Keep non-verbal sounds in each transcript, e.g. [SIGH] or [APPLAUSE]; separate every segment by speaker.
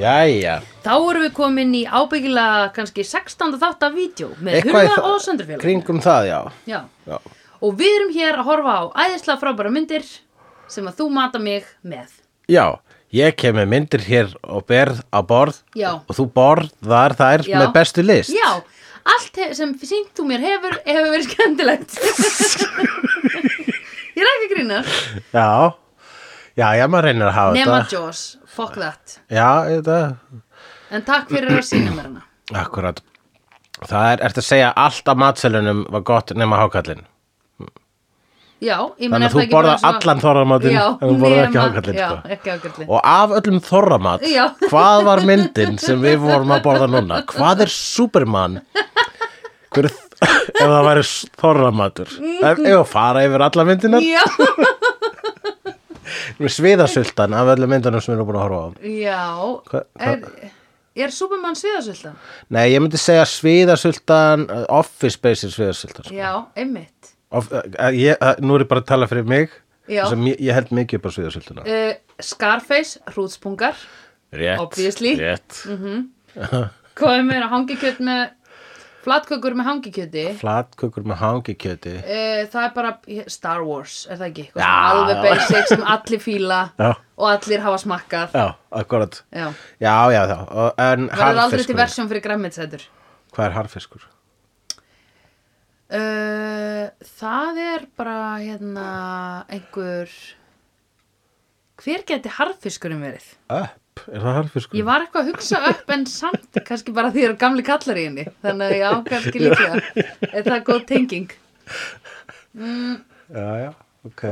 Speaker 1: Jæja,
Speaker 2: Þá erum við komin í ábyggilega kannski 16. þátt af vídeo með
Speaker 1: Eitthvað í
Speaker 2: Hurða
Speaker 1: það-
Speaker 2: og Söndurfélag.
Speaker 1: kringum það, já.
Speaker 2: Já,
Speaker 1: já.
Speaker 2: og við erum hér að horfa á æðislega frábæra myndir sem að þú mata mig með.
Speaker 1: Já, ég kem með myndir hér og berð á borð
Speaker 2: Já.
Speaker 1: og þú borðar þær
Speaker 2: Já.
Speaker 1: með bestu list.
Speaker 2: Já, allt he- sem sínt þú mér hefur, hefur verið
Speaker 1: [LAUGHS]
Speaker 2: skemmtilegt. Ég er ekki að grína.
Speaker 1: Já, já, já, maður reynir að hafa
Speaker 2: Nema
Speaker 1: þetta.
Speaker 2: Jaws, fuck that.
Speaker 1: Já, þetta,
Speaker 2: En takk fyrir að sína mér hana.
Speaker 1: akkurat. Það er, ertu að segja allt af matselunum var gott nema hákallin.
Speaker 2: Já, ég menn
Speaker 1: Þannig að þú borðar allan þorramatinn
Speaker 2: Já,
Speaker 1: en þú borðar ekki
Speaker 2: nema-
Speaker 1: hákallin.
Speaker 2: Já,
Speaker 1: sko.
Speaker 2: ekki ákallin.
Speaker 1: Og af öllum þorramat,
Speaker 2: Já.
Speaker 1: hvað var myndin sem við vorum að borða núna? Hvað er Superman? Hver, er þ- [LAUGHS] ef það væri s- þorramatur.
Speaker 2: Mhm.
Speaker 1: Ef ef að fara yfir alla myndina,
Speaker 2: Já,
Speaker 1: með sviðasultan af öllum myndunum sem við erum búin að horfa á.
Speaker 2: já,
Speaker 1: Hva-
Speaker 2: er, er Superman sviðasöldan?
Speaker 1: Nei, ég myndi segja sviðasultan, uh, Office Space er sviðasultan. sko.
Speaker 2: Já, einmitt.
Speaker 1: Of, uh, uh, ég, uh, nú er ég bara að tala fyrir mig,
Speaker 2: Já.
Speaker 1: sem ég, ég held mikið upp á sviðasultana.
Speaker 2: Uh, Scarface, hrútspungar,
Speaker 1: Rétt,
Speaker 2: obviously. Mhm.
Speaker 1: rétt.
Speaker 2: hvað er meira, hangikjöt með, flatkökur með hangikjöti.
Speaker 1: Flatkökur með hangikjöti.
Speaker 2: Uh, það er bara Star Wars, er það ekki? Eitthvað
Speaker 1: Já.
Speaker 2: svona Alveg basic sem allir fíla
Speaker 1: [LAUGHS] Já.
Speaker 2: og allir hafa smakkað.
Speaker 1: Já, akkurat.
Speaker 2: Já.
Speaker 1: Já, já, já. og- En
Speaker 2: Verður aldrei til
Speaker 1: harfiskur.
Speaker 2: versjón fyrir græmmitsætur.
Speaker 1: Hvað er harfiskur?
Speaker 2: Uh, það er bara hérna einhver hver geti harðfiskurinn verið?
Speaker 1: Öpp, er það harfiskur?
Speaker 2: Ég var eitthvað að hugsa upp en samt kannski bara því ég er gamli kallar í henni þannig að já, kannski líklega er það góð tenging
Speaker 1: Já, já, ok.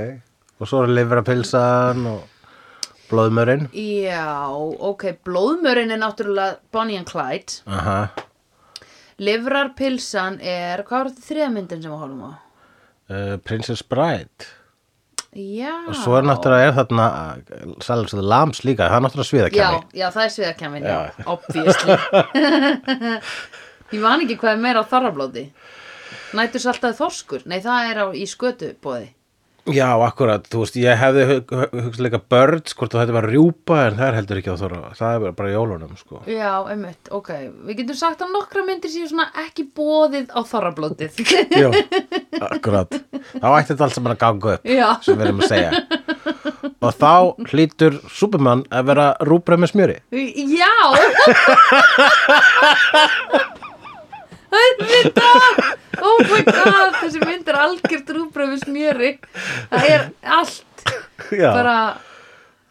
Speaker 1: Og svo er livrapilsan og blóðmörinn.
Speaker 2: Já, ok, blóðmörinn er náttúrulega Bonnie and Clyde
Speaker 1: Aha.
Speaker 2: Livrarpilsan er, hvað var þetta þriða myndin sem við horfum á?
Speaker 1: Uh, Princess Bride.
Speaker 2: Já
Speaker 1: Og svo er náttúrulega er þarna eh, Sælsöðu Lams líka, það er náttúrulega sviðakjami.
Speaker 2: Já, já, það er sviðakjæmin, já,
Speaker 1: Já.
Speaker 2: obviously Ég man ekki hvað er meira á þarrablóti Nætur saltaði þorskur Nei, það er á, í skötubóði
Speaker 1: Já, akkurat, þú veist, ég hefði hug- hug- hugsað líka Birds, hvort þetta var rjúpa, en það er heldur ekki á þorra, það er bara- bara í jólunum, [LAUGHS] sko.
Speaker 2: Já, einmitt, ok Við getum sagt að nokkra myndir séu svona ekki bóðið á þarrablótið
Speaker 1: Já, akkurat. Þá ætti þetta allt saman að ganga upp,
Speaker 2: [LAUGHS] Já.
Speaker 1: sem við erum að segja.
Speaker 2: [LAUGHS]
Speaker 1: Og þá hlýtur Superman að vera rúbröð með smjöri.
Speaker 2: Já [LAUGHS] Þetta Oh my god, þessi mynd er algjört rúbröfis mjöri Það er allt
Speaker 1: Já,
Speaker 2: bara,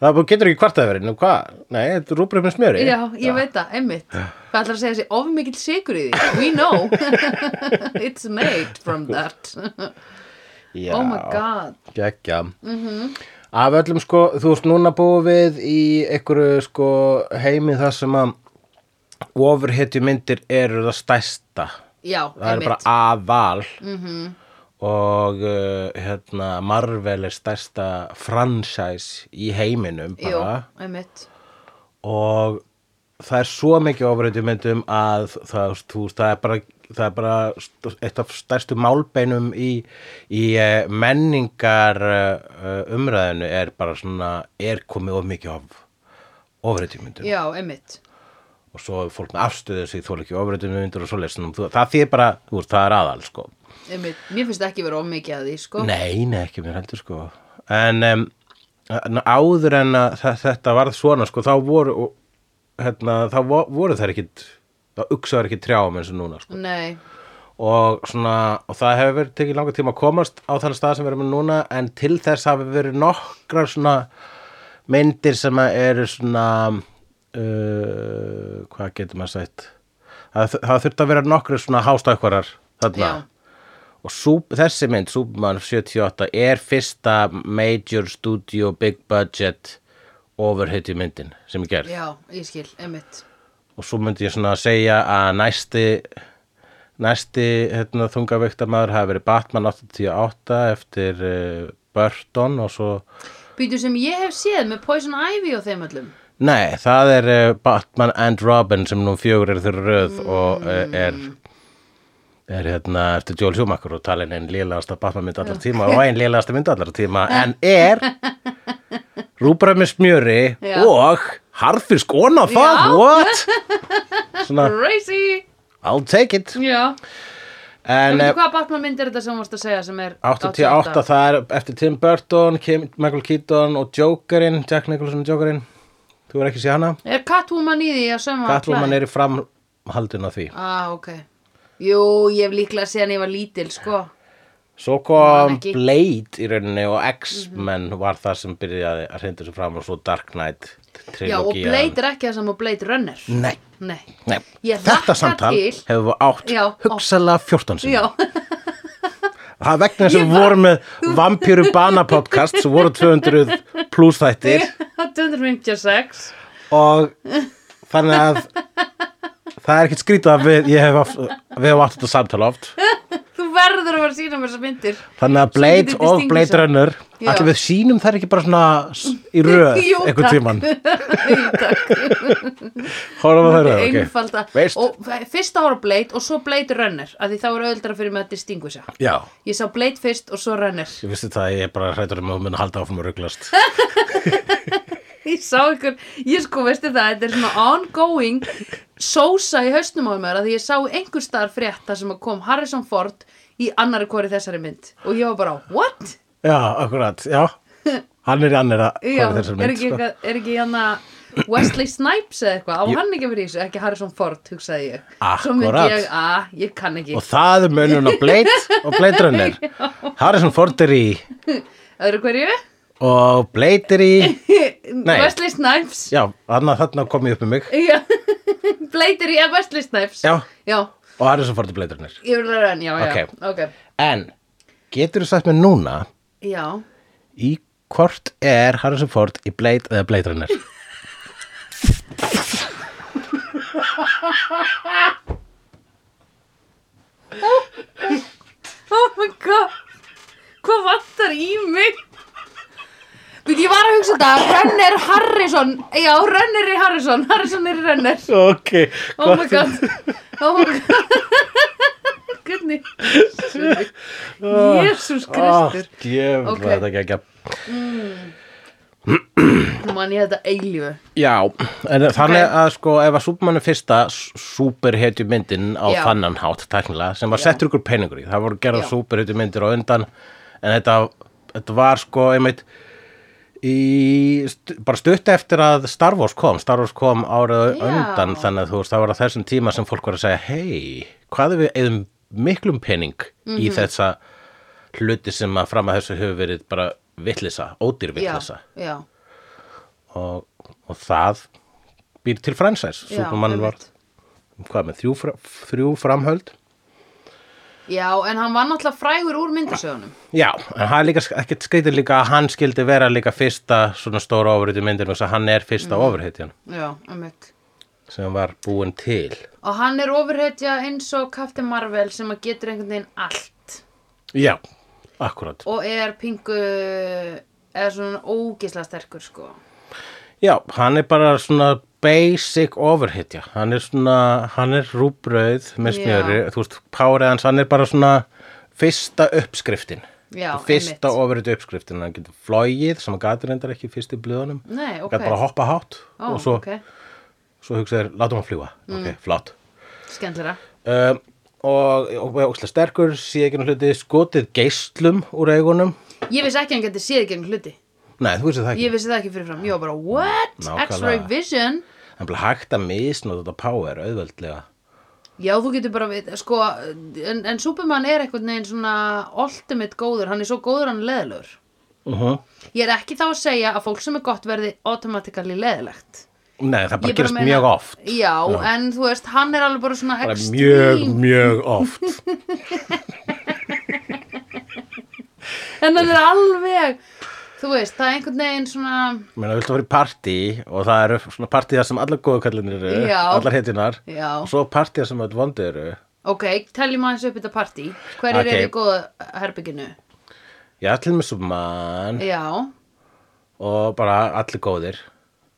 Speaker 1: það bara getur ekki kvartaði verið, nú hvað? Nei, þetta er rúbröð með smjöri.
Speaker 2: já, ég veit það, einmitt Hvað ætlar að segja þessi of mikill sigur í því? We know [LAUGHS] It's made from that
Speaker 1: Já.
Speaker 2: Oh my god Mhm.
Speaker 1: Gekja. Af öllum sko, þú veist núna búið við í einhverju sko heimi þar sem að ofurhetju myndir eru það stærsta.
Speaker 2: Já,
Speaker 1: Það er bara
Speaker 2: einmitt Mhm.
Speaker 1: aðval og uh, hérna Marvel er stærsta franchise í heiminum bara
Speaker 2: Jú, einmitt
Speaker 1: og það er svo mikið ofurhetju myndum að það, þú, veist, það er bara það er bara st- eitt af stærstu málbeinum í, í eh, menningar eh, umræðinu er bara svona er komið of mikið af ofurhetju myndum
Speaker 2: Já, einmitt
Speaker 1: og svo er fólk með afstöðu sig þóla ekki ofurhetju myndur og svo leysnum það þýr bara, þú veist, það er aðal sko.
Speaker 2: Einmitt, mér finnst ekki vera of mikið að því, sko
Speaker 1: Nei, nei, ekki mér heldur sko En um, áður en að þa- þetta varð svona sko þá voru og, hérna, þá vo- voru þær ekkit þá uksaður ekki trjáum eins og núna sko.
Speaker 2: Nei,
Speaker 1: og, svona, og það hefur verið tekið langa tíma að komast á þann stað sem við erum með núna en til þess hafi verið nokkrar svona myndir sem að eru svona uh, hvað getur maður sagt það, það þurft að vera nokkrar svona hástakvarar þarna
Speaker 2: Já.
Speaker 1: og súp, þessi mynd, Superman 78 er fyrsta major studio big budget overhittu myndin sem er gerð
Speaker 2: já, ég skil, einmitt
Speaker 1: og svo myndi ég svona að segja að næsti næsti hérna, þungaveiktarmaður hafi verið Batman 88 eftir uh, Burton og svo
Speaker 2: Býtu sem ég hef séð með Poison Ivy og þeim öllum
Speaker 1: nei, það er uh, Batman and Robin sem nú fjögur er þeirra röð og uh, er er hérna eftir Joel Schumacher og talin einn lélegasta Batman mynd allra tíma og einn lélegasta mynd allra tíma en er rúbra með smjöri
Speaker 2: Já.
Speaker 1: og harfisk on á það,
Speaker 2: Já.
Speaker 1: what? Svona,
Speaker 2: Crazy
Speaker 1: I'll take it.
Speaker 2: Já, en
Speaker 1: En eh,
Speaker 2: hvað Batman mynd er þetta sem þú varst að segja sem er
Speaker 1: 88, það er eftir Tim Burton, Kim, Michael Keaton og Jokerinn, Jack Nicholson og Jokerinn. Þú er ekki séð hana?
Speaker 2: Er Catwoman í því að sömu
Speaker 1: Catwoman er í framhaldin af því.
Speaker 2: Ah, ok Jú, ég hef líklega séðan ég var lítil, sko
Speaker 1: Svo kom
Speaker 2: Man ekki. Mhm.
Speaker 1: Blade í rauninni og X-Men var það sem byrjaði að hrinda þessu fram og svo Dark Knight trilogían.
Speaker 2: Já, og Blade er ekki það sem og Blade Runner
Speaker 1: Nei,
Speaker 2: Nei,
Speaker 1: nei.
Speaker 2: Ég
Speaker 1: Þetta
Speaker 2: hlakka
Speaker 1: samtal
Speaker 2: til.
Speaker 1: hefur við átt
Speaker 2: Já,
Speaker 1: hugsalega 14 sinni.
Speaker 2: já, [LAUGHS]
Speaker 1: Það er vegna þess
Speaker 2: Ég
Speaker 1: að við
Speaker 2: var-
Speaker 1: vorum með Vampíru Bana podcast sem voru 200 pluss þættir
Speaker 2: 256
Speaker 1: og þannig að það er ekkert skrítið að við, ég hef haft, við hefum átt þetta samtal oft.
Speaker 2: Þú verður að vera að sína mér þessar myndir
Speaker 1: Þannig að Blade
Speaker 2: lítið
Speaker 1: og Blade
Speaker 2: distinction.
Speaker 1: Runner,
Speaker 2: Já.
Speaker 1: allir við sýnum þær ekki bara svona s- í röð
Speaker 2: Jú,
Speaker 1: einhvern
Speaker 2: takk.
Speaker 1: tíman.
Speaker 2: [LAUGHS] Jú, takk
Speaker 1: Hórum að það röð, ok.
Speaker 2: Einfalda
Speaker 1: Veist.
Speaker 2: Og fyrst ára Blade og svo Blade Runner að Því þá er auðvitað fyrir mig að distinguisha
Speaker 1: Já,
Speaker 2: Ég sá Blade fyrst og svo Runner [LAUGHS]
Speaker 1: ég vissi það, ég er bara hrættur um að hún mun halda áfram að rugglast.
Speaker 2: Ég sá ykkur, ég sko veistu það, þetta er svona ongoing sósa í hausnum á mér að því ég sá einhver staðar frétt þar sem að kom Harrison Ford í annari hvori þessari mynd og ég var bara, what?
Speaker 1: Já, akkurat, já. Hann er í annir að
Speaker 2: Já,
Speaker 1: hvað er þessar
Speaker 2: er
Speaker 1: mynd,
Speaker 2: ekki,
Speaker 1: sko.
Speaker 2: eitthvað- er ekki hann Wesley Snipes eða eitthvað, á
Speaker 1: Jú.
Speaker 2: hann ekki að vera í þessu, ekki Harrison Ford, hugsaði ég. Svo
Speaker 1: Akkurat.
Speaker 2: myndi ég, að, ég kann ekki.
Speaker 1: Og það er munun á Blade og
Speaker 2: [LAUGHS]
Speaker 1: Blade Runner. Harrison Ford er í
Speaker 2: Öðru hverju?
Speaker 1: og Blade er í, Nei.
Speaker 2: [LAUGHS] Wesley Snipes.
Speaker 1: já, hann að þarna kom ég upp um mig.
Speaker 2: Já. [LAUGHS] Blade er í að Wesley Snipes.
Speaker 1: Já.
Speaker 2: Já,
Speaker 1: Og Harrison Ford er Blade Runner.
Speaker 2: ég vil að reyna, já, já.
Speaker 1: Ok.
Speaker 2: Ok.
Speaker 1: En, getur þú sagt mér núna
Speaker 2: Já.
Speaker 1: í hvort er Harrison Ford í Blade eða Blade Runner?
Speaker 2: Oh my god Hvað vantar í mig? Við ég var að hugsa þetta Rönner Harrison Já, Rönner er Harrison Harrison er Rönner
Speaker 1: ok,
Speaker 2: Oh my god Oh my god [LAUGHS] Hvernig Jésús
Speaker 1: Ah.
Speaker 2: Kristur
Speaker 1: Jöfn,
Speaker 2: Ok.
Speaker 1: okay. þetta ekki ekki
Speaker 2: Nú man ég þetta eilífu
Speaker 1: Já, en þannig að sko ef að Superman er fyrsta superhetju myndin á
Speaker 2: Já.
Speaker 1: þannan hátt tæknilega sem var
Speaker 2: Já.
Speaker 1: settur ykkur peningur í, það voru gerða
Speaker 2: Já.
Speaker 1: superhetju myndir á undan en þetta, þetta var sko einmitt í, st bara stutt eftir að Star Wars kom, Star Wars kom árið
Speaker 2: Já.
Speaker 1: undan þannig að þú veist það var að þessum tíma sem fólk var að segja hei, hvað er við eðum miklum pening í
Speaker 2: Mhm.
Speaker 1: þessa hluti sem að fram að þessu hefur verið bara vitlisa, ódýr
Speaker 2: Já,
Speaker 1: vitlisa
Speaker 2: já
Speaker 1: og, og það býr til fransæs
Speaker 2: já,
Speaker 1: Superman var,
Speaker 2: einmitt.
Speaker 1: hvað með, þrjú, fra- þrjú framhöld
Speaker 2: Já, en hann var náttúrulega frægur úr myndasögunum
Speaker 1: já, en hann er líka sk- ekkert skrítið líka að hann skildi vera líka fyrsta svona stóra ofurhýttu myndinu þess að hann er fyrsta mm.
Speaker 2: Já, um mitt
Speaker 1: sem var búin til
Speaker 2: Og hann er ofurhetja eins og Captain Marvel sem að getur einhvern veginn allt
Speaker 1: já, akkurat
Speaker 2: og er pingu eða svona ógisla sterkur sko
Speaker 1: já, hann er bara svona basic ofurhýtja hann er svona, hann er rúbröð
Speaker 2: Já.
Speaker 1: með smjöri, þú veist, párið hans hann er bara svona fyrsta uppskriftin
Speaker 2: Já,
Speaker 1: fyrsta
Speaker 2: einmitt.
Speaker 1: ofurhýttu uppskriftin hann getur flogið sem hann gatur endar ekki fyrst í blöðunum
Speaker 2: Nei, ok,
Speaker 1: okay. gæti bara að hoppa hátt
Speaker 2: Ó,
Speaker 1: og svo,
Speaker 2: ok. Mm.
Speaker 1: svo hugsaði, látum hann fljúa ok, flott
Speaker 2: skemmtilega
Speaker 1: um, og, og, og óslega sterkur sé ekki nú hluti skotið geislum úr eigunum
Speaker 2: Ég vissi ekki að hann geti séð gegn hluti
Speaker 1: nei, þú veist það ekki
Speaker 2: Ég vissi það ekki fyrirfram, ég var bara What?
Speaker 1: Nákvæmlega.
Speaker 2: X-ray vision?
Speaker 1: hann er bara hægt að misnóta þetta power auðveldlega
Speaker 2: Já, þú getur bara, við, sko en, en Superman er einhvern veginn svona ultimate góður, hann er svo góður hann er leðilegur
Speaker 1: uh
Speaker 2: Ég er ekki þá að segja að fólk sem er gott verði automatically leðilegt
Speaker 1: nei, það bara
Speaker 2: Ég bara
Speaker 1: gerist
Speaker 2: meina-
Speaker 1: mjög oft
Speaker 2: Já, en þú veist, hann er alveg bara svona
Speaker 1: bara
Speaker 2: extreme
Speaker 1: mjög, mjög oft [LAUGHS]
Speaker 2: En hann er alveg, þú veist, það er einhvern veginn svona
Speaker 1: Meina, viltu að fara í partí og það eru svona partíðar sem allar góðu kallinir eru,
Speaker 2: Já.
Speaker 1: allar hetjunar
Speaker 2: Já.
Speaker 1: og svo partíðar sem öll vondi eru
Speaker 2: Ok, teljum aðeins upp þetta partí. Hverjir
Speaker 1: Ok.
Speaker 2: okay. eru í góða herbygginu?
Speaker 1: já, til með Superman
Speaker 2: Já,
Speaker 1: og bara allir góðir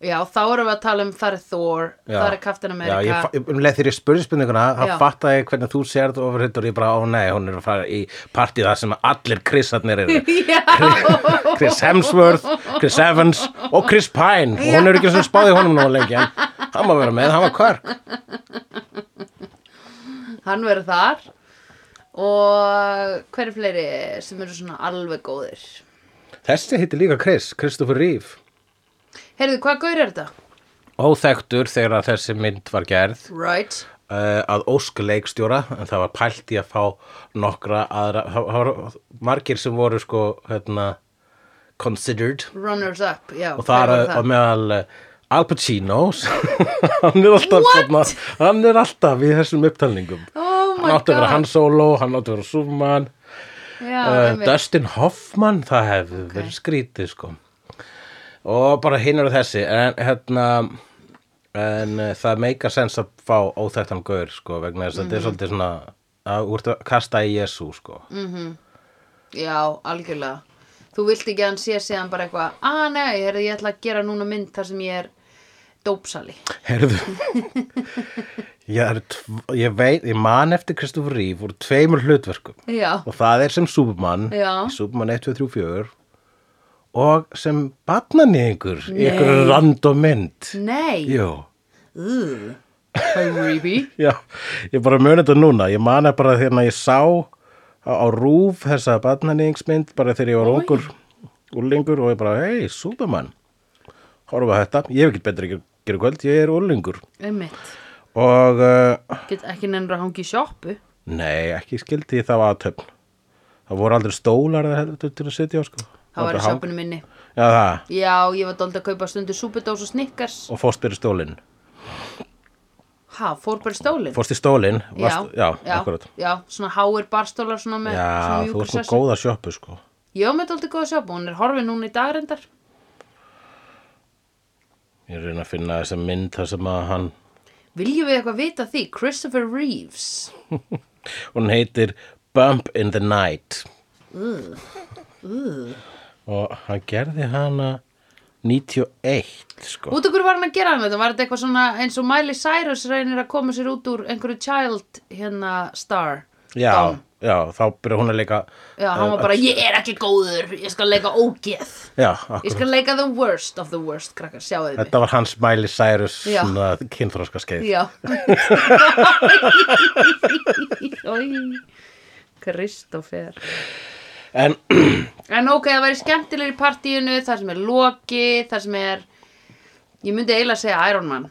Speaker 2: já, þá erum við að tala um þar er Thor,
Speaker 1: Já.
Speaker 2: þar er Captain
Speaker 1: Já,
Speaker 2: America
Speaker 1: ég, fa- um leið þegar ég spurði spurninguna
Speaker 2: Já.
Speaker 1: þá fattaði ég hvernig þú sér þú ofurhutt og ég bara, ó nei, hún er að fara í partíð það sem allir
Speaker 2: [LAUGHS]
Speaker 1: Chrisarnir eru
Speaker 2: [LAUGHS] já,
Speaker 1: Chris Hemsworth, Chris Evans og Chris Pine og hún er ekki svona spáði honum nú lengi en hann má vera með, hann var kvörk
Speaker 2: hann verður þar og hver er fleiri sem eru svona alveg góðir
Speaker 1: Þessi hitti líka Chris, Christopher Reeve
Speaker 2: heyrðu, hvað gaur er þetta?
Speaker 1: Óþekktur þegar að þessi mynd var gerð
Speaker 2: Right,
Speaker 1: uh, að ósk leikstjóra en það var pælt í að fá nokkra aðra, það það var margir sem voru sko, hérna considered
Speaker 2: runners up já,
Speaker 1: og það
Speaker 2: hver
Speaker 1: er
Speaker 2: var
Speaker 1: á meðal eh, Al Pacino [LAUGHS] hann er alltaf
Speaker 2: What?
Speaker 1: þarna, hann er alltaf í þessum upptalningum
Speaker 2: Oh my
Speaker 1: hann átti að vera
Speaker 2: God.
Speaker 1: Han Solo, hann átti að vera Superman
Speaker 2: já,
Speaker 1: uh,
Speaker 2: einmitt.
Speaker 1: Dustin Hoffman, það hefði verið skrítið sko og bara hinn eru þessi en hérna en uh, það meika sens að fá óþættan gaur sko vegna
Speaker 2: Mm.
Speaker 1: þess að þetta er svolítið svona að úr að kasta í Jesú sko
Speaker 2: já, algjörlega þú vilt ekki að hann sé síðan bara eitthvað að nei, heyrðu, ég ætla að gera núna mynd þar sem ég er dópsali
Speaker 1: Herðu ég, er tv- ég veit, ég man eftir Kristofur Ríf úr tveimur hlutverkum
Speaker 2: já,
Speaker 1: og það er sem Superman
Speaker 2: Já.
Speaker 1: í Superman 1, 2, 3, 4 og sem batnanýðingur í einhverju random mynd
Speaker 2: nei
Speaker 1: Jú,
Speaker 2: Ugh. creepy
Speaker 1: já, ég bara muni þetta núna ég mani bara þegar ég sá á, á rúf þessa batnanýðingsmynd bara þegar ég var ungur úlingur og ég bara, hei, Superman horfa á þetta, ég hef ekki betri að gera í kvöld, ég er úlingur
Speaker 2: einmitt,
Speaker 1: og uh,
Speaker 2: get ekki nefnir að hangi í sjoppu
Speaker 1: nei, ekki skildi ég það var aðtöfn það voru aldrei stólar eða heldur til að sitja á sko
Speaker 2: það var í
Speaker 1: Aldrei hang-
Speaker 2: sjoppunum minni
Speaker 1: Já, það
Speaker 2: já, ég var dóldi að kaupa stundu súpudós og snikkars
Speaker 1: og fórst fyrir stólinn
Speaker 2: ha, fór bara í stólinn
Speaker 1: fórst í stólinn varst- já,
Speaker 2: já,
Speaker 1: akkurat
Speaker 2: já, svona háir barstólar svona með
Speaker 1: já,
Speaker 2: svona
Speaker 1: þú ert nú
Speaker 2: mjúkur sessi.
Speaker 1: góða sjoppu sko
Speaker 2: Ég á með þetta aldrei góða sjápa, hún er horfið núna í dagrendar
Speaker 1: ég er að reyna að finna þessa mynd þar sem að hann
Speaker 2: Viljum við eitthvað vita því? Christopher Reeves
Speaker 1: hún heitir Bump in the Night og hann gerði hana 91 sko
Speaker 2: Út okkur var hann að gera hann þetta? Var þetta eitthvað svona eins og Miley Cyrus reynir að koma sér út úr einhverju child hérna star
Speaker 1: já,
Speaker 2: Dom.
Speaker 1: já, þá byrja hún að leika
Speaker 2: Já, hann var bara, ég er ekki góður, ég skal leika ógeð
Speaker 1: já,
Speaker 2: Ég
Speaker 1: akkurat
Speaker 2: skal leika the worst of the worst, krakkar, sjáðu mig
Speaker 1: Þetta var hans Miley Cyrus
Speaker 2: Já.
Speaker 1: svona kynþróska skeið.
Speaker 2: Já [LAUGHS] Oj, Kristoffer
Speaker 1: En
Speaker 2: En ok, það væri skemmtilegur í partíinu, það sem er Loki, það sem er, ég myndi eiginlega að segja Iron Man.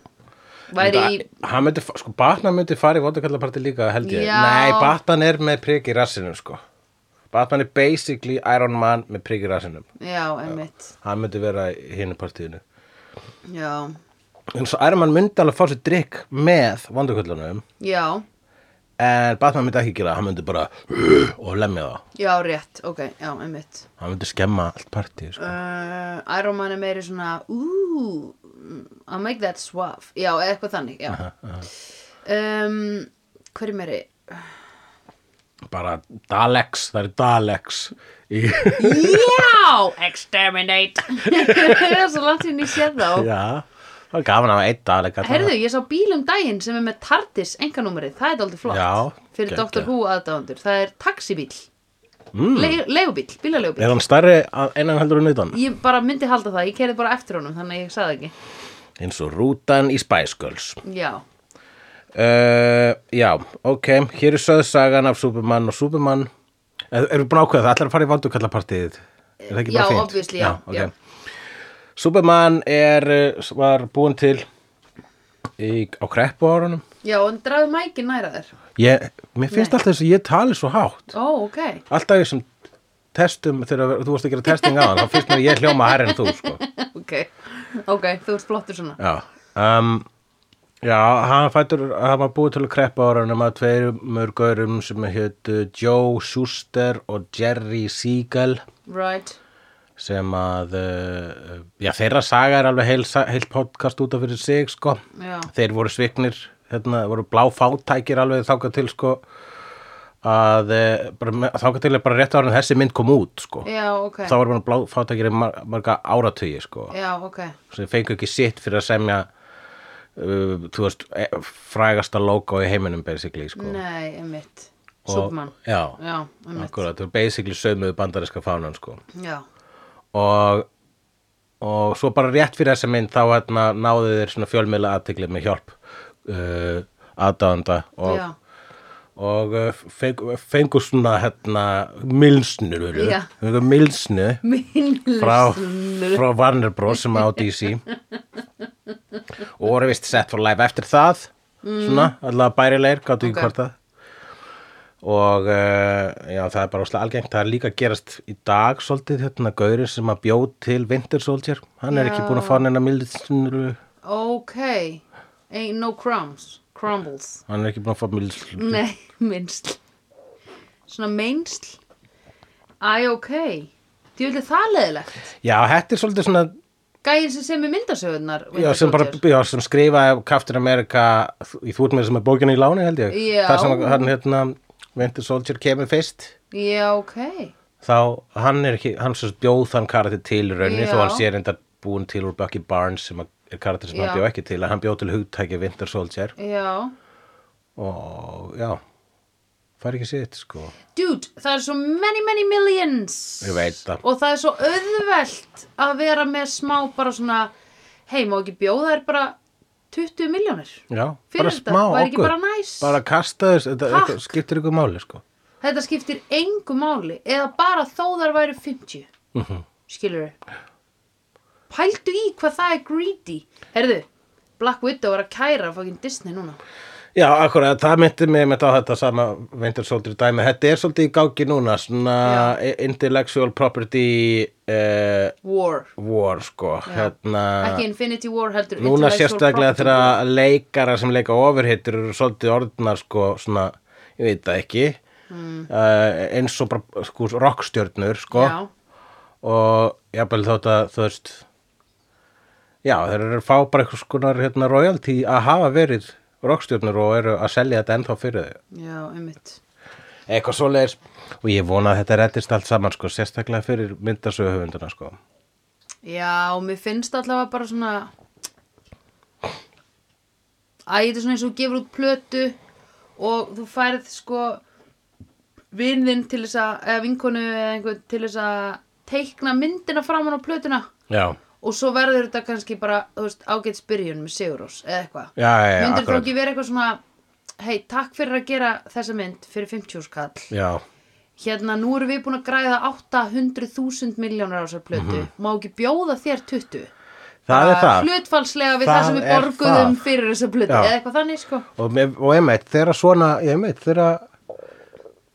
Speaker 2: Væri í,
Speaker 1: hann myndi, fa- sko, Batman myndi fara í vondakallaparti líka held ég.
Speaker 2: Já.
Speaker 1: Nei, Batman er með prik í rassinum, sko. Batman er basically Iron Man með prik í rassinum.
Speaker 2: já, einmitt,
Speaker 1: Hann myndi vera í hinu partíinu.
Speaker 2: já,
Speaker 1: En svo Iron Man myndi alveg fá sér drikk með vondakallunum,
Speaker 2: já,
Speaker 1: en Batman myndi ekki gera það, hann myndi bara [GASPS] og lemja það.
Speaker 2: já, rétt, ok, já, einmitt.
Speaker 1: Hann myndi skemma allt partíu, sko.
Speaker 2: Uh, Iron Man er meiri svona, ooh, I'll make that suave, já, eða eitthvað þannig, já. Um, hver er meiri?
Speaker 1: Bara Daleks, það er Daleks í...
Speaker 2: Já, exterminate, [LAUGHS] það er svo langt síðan ég séð þá.
Speaker 1: [LAUGHS] Já, það er gaman að hafa einn Dalek. allavega.
Speaker 2: Herðu, ég sá bíl um daginn sem er með TARDIS enganúmerið, það er aldrei flott
Speaker 1: Já,
Speaker 2: fyrir
Speaker 1: geggjað.
Speaker 2: Dr. Who aðdáðandur, það er taxibíl mm. Le legubíl, bílaleigubíl
Speaker 1: Er hann stærri að einan heldur en utan?
Speaker 2: ég bara myndi halda það, ég kerði bara eftir honum þannig að ég sagði ekki,
Speaker 1: Eins og rútan í Spice Girls.
Speaker 2: já
Speaker 1: Uh, já, ok, hér er söðsagan af Superman og Superman Er, Erum við búin að ákveða það? Ætlar að fara í vandukallapartíð? Er það ekki
Speaker 2: Já,
Speaker 1: bara fínt?
Speaker 2: obviously, já,
Speaker 1: ok.
Speaker 2: já.
Speaker 1: Superman er, uh, var búin til í, á kreppu árunum
Speaker 2: já, en drafðu mækin næra þér
Speaker 1: ég, Mér finnst
Speaker 2: Nei.
Speaker 1: alltaf þess að ég tali svo hátt
Speaker 2: ó, ok,
Speaker 1: Alltaf ég sem testum þegar þú varst að gera testing á hann þá finnst mér ég hljóma hærri en þú sko.
Speaker 2: [LAUGHS] ok ok, þú ert flottur svona
Speaker 1: Já, um, já hann fættur, hann var búið til að kreppa árunum að tveimur gaurum sem hétu Joe Schuster og Jerry Siegel
Speaker 2: right,
Speaker 1: sem að, uh, já þeirra saga er alveg heil, sa- heil podcast út af fyrir sig sko,
Speaker 2: já,
Speaker 1: þeir voru sviknir, hérna, voru bláfátækir alveg þáka til sko að eh, bara, með- þangað til er bara rétt ára en þessi mynd kom út sko.
Speaker 2: já, ok
Speaker 1: þá var bara blá, fátækir í mar marga áratugi sko.
Speaker 2: já, ok,
Speaker 1: sem fengu ekki sitt fyrir að semja uh, þú veist, e- frægasta logo í heiminum basically sko.
Speaker 2: nei, einmitt
Speaker 1: Og-
Speaker 2: Superman,
Speaker 1: já,
Speaker 2: já, einmitt
Speaker 1: akkurat, þú basically sömuðu bandaríska fánan sko.
Speaker 2: já,
Speaker 1: og og svo bara rétt fyrir þessa mynd þá hérna, náðu þeir svona fjölmiðla aðtegli með hjálp uh, aðdáðanda og,
Speaker 2: já,
Speaker 1: og uh, fengu, fengu svona hérna milsnu
Speaker 2: Já.
Speaker 1: fengu milsnu frá,
Speaker 2: minnlust
Speaker 1: frá Warner Bros sem á DC og voru vist sett for live eftir það svona, allavega bærilegir gáttu
Speaker 2: Mm. Ok.
Speaker 1: ekki hvort það og uh, já, það er bara óslega algengt það er líka að gerast í dag svolítið hérna gaurið sem að bjóð til Winter Soldier hann er ekki búin að fá neina mildislu
Speaker 2: ok, ain't no crumbs crumbles
Speaker 1: hann er ekki búin að fá mildislu
Speaker 2: Nei, [LAUGHS] minnsl Svona minnsl Æ, ok Djúlega það leðilegt
Speaker 1: já, þetta er svolítið svona
Speaker 2: Gæin sem sem er myndasögurnar
Speaker 1: Já, sem bara, já, sem skrifaði Captain America í þúrmið sem er bókinu í láni held ég
Speaker 2: Já.
Speaker 1: þar sem hann hérna Winter Soldier kemur fyrst
Speaker 2: Já, ok
Speaker 1: þá hann er ekki, hann sem sagt bjóð þann karakter til í rauninni
Speaker 2: Já.
Speaker 1: þó hann sé reyndar búin til úr Bucky Barnes sem er karakter sem
Speaker 2: Já.
Speaker 1: hann bjóð ekki til en hann bjóð til hugtæki Winter Soldier
Speaker 2: Já
Speaker 1: og já fær ekki sitt sko
Speaker 2: Dude, það er svo many, many millions
Speaker 1: Ég veit það.
Speaker 2: Og það er svo auðvelt að vera með smá bara svona Hei, má ekki bjóða þér bara 20 miljónir
Speaker 1: já,
Speaker 2: Fyrir
Speaker 1: bara
Speaker 2: þetta,
Speaker 1: smá
Speaker 2: væri ekki
Speaker 1: okkur
Speaker 2: bara næs?
Speaker 1: bara kasta þess, þetta,
Speaker 2: Takk.
Speaker 1: þetta skiptir ykkur máli sko
Speaker 2: Þetta skiptir engu máli Eða bara þó þar væri 50
Speaker 1: mm -hmm.
Speaker 2: skilur pældu í hvað það er greedy herðu, Black Widow er að kæra fokkin Disney núna
Speaker 1: Já, akkurat, það myndi mig með á þetta sama Winter Soldier dæmi, þetta er svolítið í gangi núna, svona intellectual property uh,
Speaker 2: War,
Speaker 1: war, sko hérna,
Speaker 2: ekki Infinity War heldur
Speaker 1: núna
Speaker 2: intellectual
Speaker 1: sérstaklega
Speaker 2: property war.
Speaker 1: þegar leikara sem leika ofurhittur eru svolítið orðnar sko svona, ég veit það ekki mm. eins og bara sko, rockstjörnur sko
Speaker 2: já,
Speaker 1: og jafnvel þótt að þú veist já þeir eru að fá bara eitthvað skonar hérna royalty að hafa verið rockstjörnur og eru að selja þetta ennþá fyrir þau
Speaker 2: já, einmitt
Speaker 1: eitthvað svoleiðis og ég vona að þetta reddist allt saman sko sérstaklega fyrir myndasöguhöfunduna sko
Speaker 2: já, og mér finnst allavega bara svona æ, þetta er svona eins og þú gefur út plötu og þú færð sko vinðin til þess að, eða vinkonu eða einhvern til þess að teikna myndina framan á plötuna
Speaker 1: já,
Speaker 2: og svo verður þetta kannski bara þú veist, ágætt spyrjun með Sigurós eða eitthvað
Speaker 1: já, já, já
Speaker 2: myndir þú
Speaker 1: akkurat
Speaker 2: ekki vera eitthvað svona hei, takk fyrir að gera þessa mynd fyrir 50 skall
Speaker 1: já,
Speaker 2: hérna, nú erum við búin að græða 800.000 miljónar á þessar plötu
Speaker 1: Mhm.
Speaker 2: má ekki bjóða þér 20
Speaker 1: það er það
Speaker 2: hlutfallslega við það,
Speaker 1: Það
Speaker 2: sem við
Speaker 1: er
Speaker 2: borguðum
Speaker 1: það.
Speaker 2: fyrir þessa plötu
Speaker 1: Já.
Speaker 2: eða eitthvað þannig sko
Speaker 1: og, með- og einmitt, þeirra svona einmitt, þeirra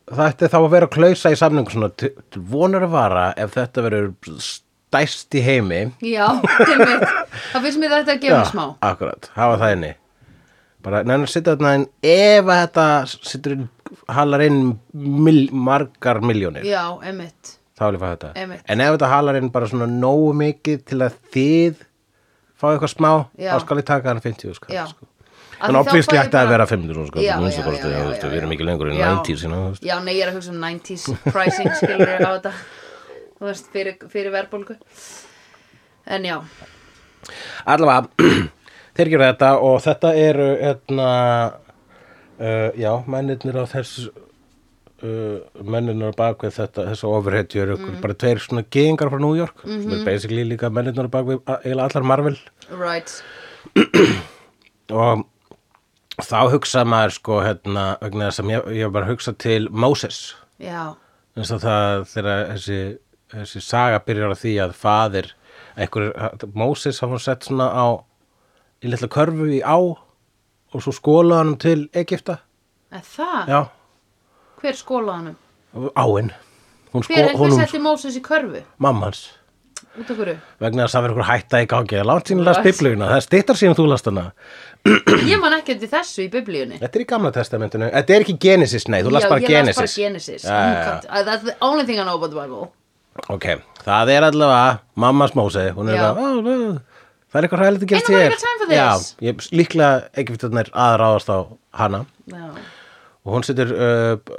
Speaker 1: það ætti þá að vera að klausa í samningu svona til til vonar að vara ef þetta verður stæst í heimi
Speaker 2: já, til mitt það finnst mér þetta að gefa mér smá
Speaker 1: akkurat, hafa það inni bara, neina, sitja þarna inn ef að þetta sittur inn, halar inn mil, margar miljónir,
Speaker 2: já, emitt
Speaker 1: þá vil ég fá þetta
Speaker 2: Einmitt.
Speaker 1: en ef þetta halar inn bara svona nógu mikið til að þið fá eitthvað smá,
Speaker 2: Já.
Speaker 1: þá skal ég taka hann 50 skall,
Speaker 2: já
Speaker 1: sko. en obvísli ætti að vera sko, 500 skall,
Speaker 2: Já,
Speaker 1: þú
Speaker 2: já,
Speaker 1: veist,
Speaker 2: já, já,
Speaker 1: þú veist,
Speaker 2: já,
Speaker 1: við erum
Speaker 2: já.
Speaker 1: ekki lengur en
Speaker 2: Já.
Speaker 1: 90 sína, þú veist
Speaker 2: Já, nei, ég er að hugsa um 90s pricing skilur á þetta Þú veist, fyrir, fyrir verðbólgu En já,
Speaker 1: allavega [CLEARS THROAT] þeir gera þetta og þetta eru hérna uh, já, mennirnir á þessu uh, mennirnir á bakvið þetta þessu ofurhetju eru
Speaker 2: Mhm.
Speaker 1: mm. bara tveir svona geðingar frá New York sem er basically líka mennirnir á bakvið a- eiginlega allar Marvel
Speaker 2: right
Speaker 1: og þá hugsa maður sko hérna, vegna þess að ég, ég var bara að hugsa til Moses
Speaker 2: Já,
Speaker 1: eins og það þegar þessi, þessi saga byrjar á því að faðir einhver, Moses hafa sett svona á í litla körfu í á og svo skólaði hann til Egipta
Speaker 2: en það,
Speaker 1: já,
Speaker 2: hver skólaði honum?
Speaker 1: áinn hún
Speaker 2: Hver,
Speaker 1: sko,
Speaker 2: hver
Speaker 1: honum,
Speaker 2: setti Móses í körfu?
Speaker 1: mamma hans
Speaker 2: Út af hverju?
Speaker 1: vegna þess að það verður einhver hætta í gangi það er langt sín að lasta
Speaker 2: Right.
Speaker 1: biblíuna, það er stittar sín að þú last hana
Speaker 2: Ég man ekki eftir þessu í biblíunni
Speaker 1: þetta er í gamla testamentinu, þetta er ekki Genesis nei, þú last bara
Speaker 2: Já, ég las bara
Speaker 1: Genesis
Speaker 2: Genesis
Speaker 1: Já, já, já.
Speaker 2: Uh, That's the only thing I know about the Bible
Speaker 1: ok, það er allavega mammas Móse, hún er
Speaker 2: Já.
Speaker 1: allavega "Ó, ó, það er eitthvað hræðilegt að gerast
Speaker 2: Ain't nobody
Speaker 1: hér."
Speaker 2: got time for this.
Speaker 1: já, ég, líklega ekki fyrir þarna er aðráðast á hana
Speaker 2: Já,
Speaker 1: og hún setur uh,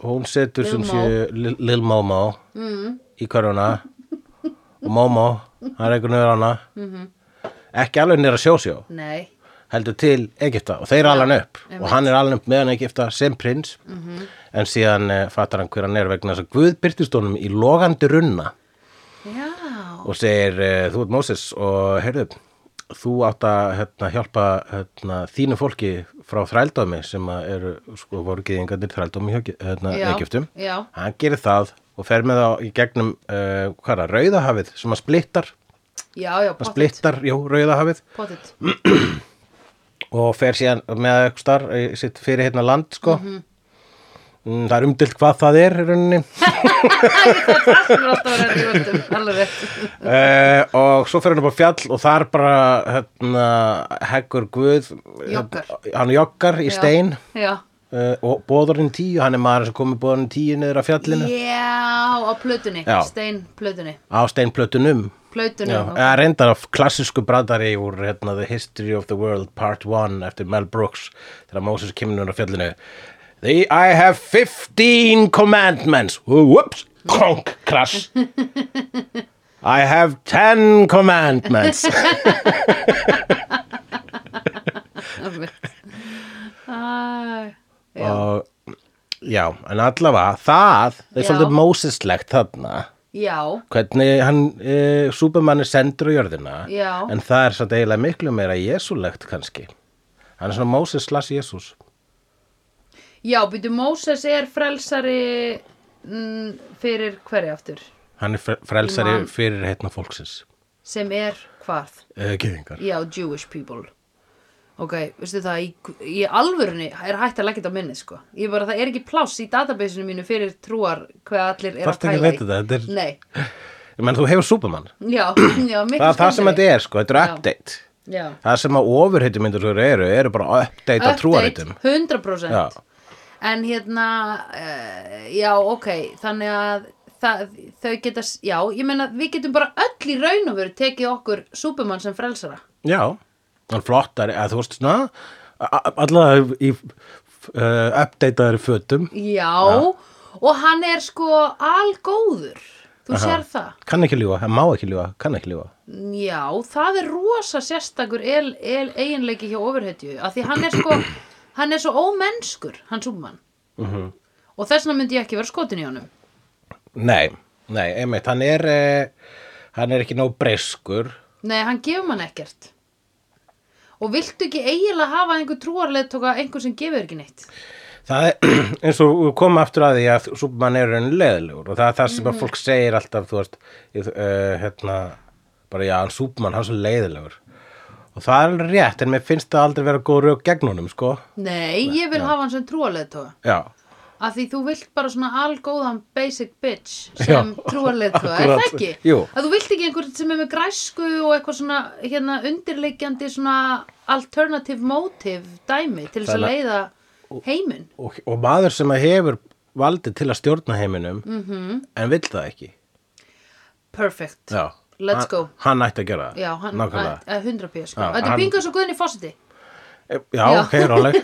Speaker 1: hún setur
Speaker 2: Lil
Speaker 1: sem
Speaker 2: Mo.
Speaker 1: séu Lil- Lil Momo mm. í körfuna og Momo, hann reykur nöður hana
Speaker 2: Mhm.
Speaker 1: ekki alveg nýra sjósjó
Speaker 2: Nei,
Speaker 1: heldur til Egipta og þeir ala hann upp
Speaker 2: einmitt. Mhm.
Speaker 1: og hann er alveg upp með hann Egipta sem prins en síðan eh, fattar hann hver hann er vegna þess að Guð byrtist honum í logandi runna
Speaker 2: já
Speaker 1: og segir eh, þú ert Móses og heyrðu, þú átt að hérna, hjálpa hérna, þínu fólki frá þrældómi sem að eru sko voru geðingarnir þrældómi hjá hérna,
Speaker 2: Já,
Speaker 1: Egyptum
Speaker 2: já.
Speaker 1: hann gerir það og fer með það í gegnum uh, hvað er rauðahafið sem að splittar
Speaker 2: Já, já,
Speaker 1: að
Speaker 2: pottit
Speaker 1: splittar, jú, rauðahafið
Speaker 2: Pottit,
Speaker 1: og fer síðan með eitthvað starf eh, sitt fyrir hérna land sko
Speaker 2: Mhm.
Speaker 1: Mm, Það er umdilt hvað það er í rauninni
Speaker 2: það sem er alltaf að vera í völdum Alveg rétt
Speaker 1: uh, og svo fer hann upp á fjall og þar bara hérna, heggur guð hérna,
Speaker 2: Joggar.
Speaker 1: hann joggar í
Speaker 2: Já.
Speaker 1: stein
Speaker 2: Já,
Speaker 1: uh, og bóðurinn tíu, hann er maður sem komið bóðurinn tíu niður af fjallinu
Speaker 2: já á plötunni,
Speaker 1: Já.
Speaker 2: stein plötunni
Speaker 1: á steinplötunum
Speaker 2: Plötunni,
Speaker 1: Já, eða reyndar af klassísku bradari úr hérna, The History of the World Part 1 eftir Mel Brooks þegar Moses kemur núna af fjallinu The, I have 15 commandments Whoops, kronk,
Speaker 2: [LAUGHS]
Speaker 1: crash I have
Speaker 2: [LAUGHS]
Speaker 1: 10 commandments Eh.
Speaker 2: Æ, já.
Speaker 1: og já, en allavega það er
Speaker 2: Já.
Speaker 1: svolítið mósislegt þarna
Speaker 2: já,
Speaker 1: hvernig hann e, Superman er sendur á jörðina
Speaker 2: Já.
Speaker 1: en það er satt eiginlega miklu meira jesulegt kannski hann er svona Moses slash Jesus
Speaker 2: já, býtu Móses er frelsari mm, fyrir hverja aftur
Speaker 1: hann er fre- frelsari
Speaker 2: Ég man.
Speaker 1: fyrir heitna fólksins
Speaker 2: sem er hvað?
Speaker 1: e, geðingar
Speaker 2: Já, Jewish people Ok, veistu það, í, í alvörunni er hægt að leggja þetta á minni, sko Ég bara, það er ekki pláss í databasinu mínu fyrir trúar hvað allir er
Speaker 1: Þarftu ekki að
Speaker 2: að pæla í
Speaker 1: vita þetta, þetta er-
Speaker 2: Nei,
Speaker 1: menn þú hefur Superman
Speaker 2: já, [CLEARS THROAT] já, miklu
Speaker 1: það er það sem
Speaker 2: skemmtilegri.
Speaker 1: þetta er sko, þetta er
Speaker 2: Já.
Speaker 1: update
Speaker 2: Já,
Speaker 1: það sem að ofurheitum myndir svo eru eru bara að update á trúarheitum
Speaker 2: 100%
Speaker 1: Já.
Speaker 2: En hérna, uh, já, ok, þannig að það, þau geta, s- já, ég meina við getum bara öll í raun og veru tekið okkur Superman sem frelsara
Speaker 1: Já, hann flottar eða þú veist svona a- a- allavega í uh, updateaðri fötum
Speaker 2: Já, og hann er sko algóður, þú sér það
Speaker 1: kann ekki ljúga, hann má ekki ljúga, kann ekki ljúga
Speaker 2: Já, það er rosa sérstakur el, el, eiginleiki hjá ofurhetju af því hann er sko, hann er svo ómennskur hann Súbmann -hmm. og þess vegna myndi ég ekki vera skotin í honum
Speaker 1: Nei, nei, einmitt, hann er eh, hann er ekki nóg breyskur
Speaker 2: Nei, hann gefur mann ekkert og viltu ekki eiginlega hafa einhver trúarleð tóka einhver sem gefur ekki neitt
Speaker 1: það er [CLEARS THROAT] eins og við komum aftur að því að Superman er enn leðilegur og það er það sem að fólk segir alltaf þú veist, uh, hérna bara já, hann Superman, hann er svo leiðilegur og það er alveg rétt en mér finnst það aldrei vera góð rauk gegn honum, sko
Speaker 2: Nei, ég vil hafa hann sem trúarleð tóka
Speaker 1: Já,
Speaker 2: af því þú vilt bara svona algóðan basic bitch sem
Speaker 1: Já,
Speaker 2: trúarleð tóka, er það
Speaker 1: akkurat.
Speaker 2: ekki?
Speaker 1: Jú.
Speaker 2: Að þú vilt ekki einhvern sem er með græsku og eitthvað svona hérna undirleikjandi svona alternative motive dæmi til þess að
Speaker 1: Þannig
Speaker 2: leiða heiminn.
Speaker 1: og, og maður sem að hefur valdið til að stjórna heiminum
Speaker 2: Mhm.
Speaker 1: -hmm. en vill það ekki
Speaker 2: Perfect.
Speaker 1: já.
Speaker 2: Let's
Speaker 1: hann,
Speaker 2: go.
Speaker 1: hann ætti að gera það
Speaker 2: Já, hann,
Speaker 1: Nákvæmlega.
Speaker 2: að- að 100 pjö, sko.
Speaker 1: Já,
Speaker 2: Þetta
Speaker 1: hann-
Speaker 2: er pingu eins og guðinni fósiti.
Speaker 1: já,
Speaker 2: Já.
Speaker 1: ok, róleg
Speaker 2: [LAUGHS]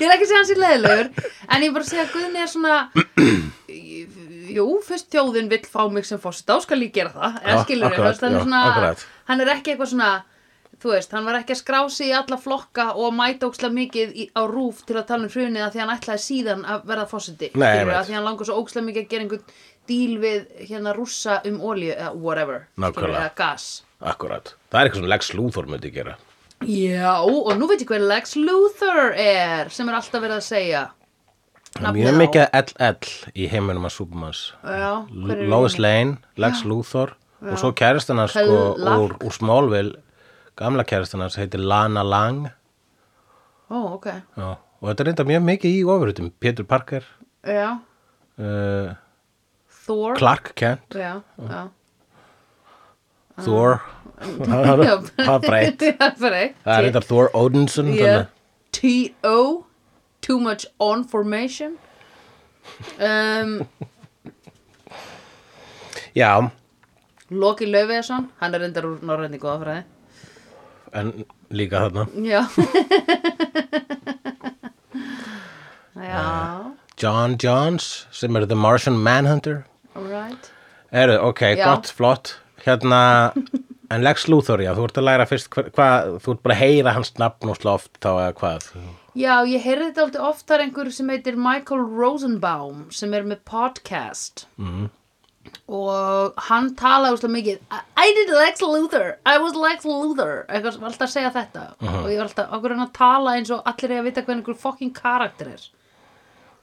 Speaker 2: Ég er ekki að segja hans í leiðilegur, en ég er bara að segja að guðinni er svona, [CLEARS THROAT] jú, fyrst þjóðin vill fá mig sem fósita og skal ég gera það, eða
Speaker 1: Já,
Speaker 2: skilur
Speaker 1: akkurat,
Speaker 2: hann, er
Speaker 1: já,
Speaker 2: svona,
Speaker 1: akkurat.
Speaker 2: hann er ekki eitthvað svona, þú veist, hann var ekki að skrá sig í alla flokka og mæta ókslega mikið í, á rúf til að tala um hrunið að því hann ætlaði síðan að verða fósiti,
Speaker 1: Nei,
Speaker 2: skilur
Speaker 1: einmitt.
Speaker 2: að því hann langar svo ókslega mikið að gera einhvern díl við hérna rússa um olíu eða whatever, skilur
Speaker 1: Nákvæmlega.
Speaker 2: eða gas.
Speaker 1: akkurat, það er eitthvað sem Lex Luthor myndi gera
Speaker 2: Já, og nú veit ég hver Lex Luthor er sem er alltaf verið að segja
Speaker 1: Það er mjög
Speaker 2: Nafnið á-
Speaker 1: mikið LL í heiminum að Supermans
Speaker 2: Já, hver er
Speaker 1: Lois
Speaker 2: hinni?
Speaker 1: Lane, Lex Luthor og svo kæristan hans sko,
Speaker 2: Kal-
Speaker 1: úr, úr Smallville gamla kæristan hans heitir Lana Lang
Speaker 2: Ó, ok,
Speaker 1: já. og þetta er reynda mjög mikið í ofurutum Peter Parker
Speaker 2: já
Speaker 1: uh,
Speaker 2: Thor
Speaker 1: Clark Kent
Speaker 2: Já,
Speaker 1: Mm.
Speaker 2: já [LAUGHS]
Speaker 1: Ah. Thor
Speaker 2: Já.
Speaker 1: [LAUGHS] það er breytt
Speaker 2: Já, breytt.
Speaker 1: Það er þetta Thor Odinson
Speaker 2: Yeah.
Speaker 1: yeah.
Speaker 2: T.O. Too much on formation um,
Speaker 1: Já,
Speaker 2: Loki Löfveðsson Hann er reyndar úr norrænni góðafræði
Speaker 1: en líka þarna
Speaker 2: [LAUGHS] Já
Speaker 1: Ah.
Speaker 2: já,
Speaker 1: John Jones sem er The Martian Manhunter
Speaker 2: alright
Speaker 1: Eru, ok,
Speaker 2: Já.
Speaker 1: gott, flott
Speaker 2: [LAUGHS]
Speaker 1: Hérna, en Lex Luthor, já, þú ert að læra fyrst hver- hvað, þú ert bara að heyra hans nafn og sloft þá eða hvað
Speaker 2: Já, ég heyrði þetta alltaf oftar einhver sem heitir Michael Rosenbaum sem er með podcast
Speaker 1: Mhm.
Speaker 2: og hann talaði úrslega mikið I I did Lex Luthor, I was Lex Luthor eitthvað sem var alltaf að segja þetta og ég var alltaf, okkur hann að tala eins og allir er að vita hvað einhver fucking karakter er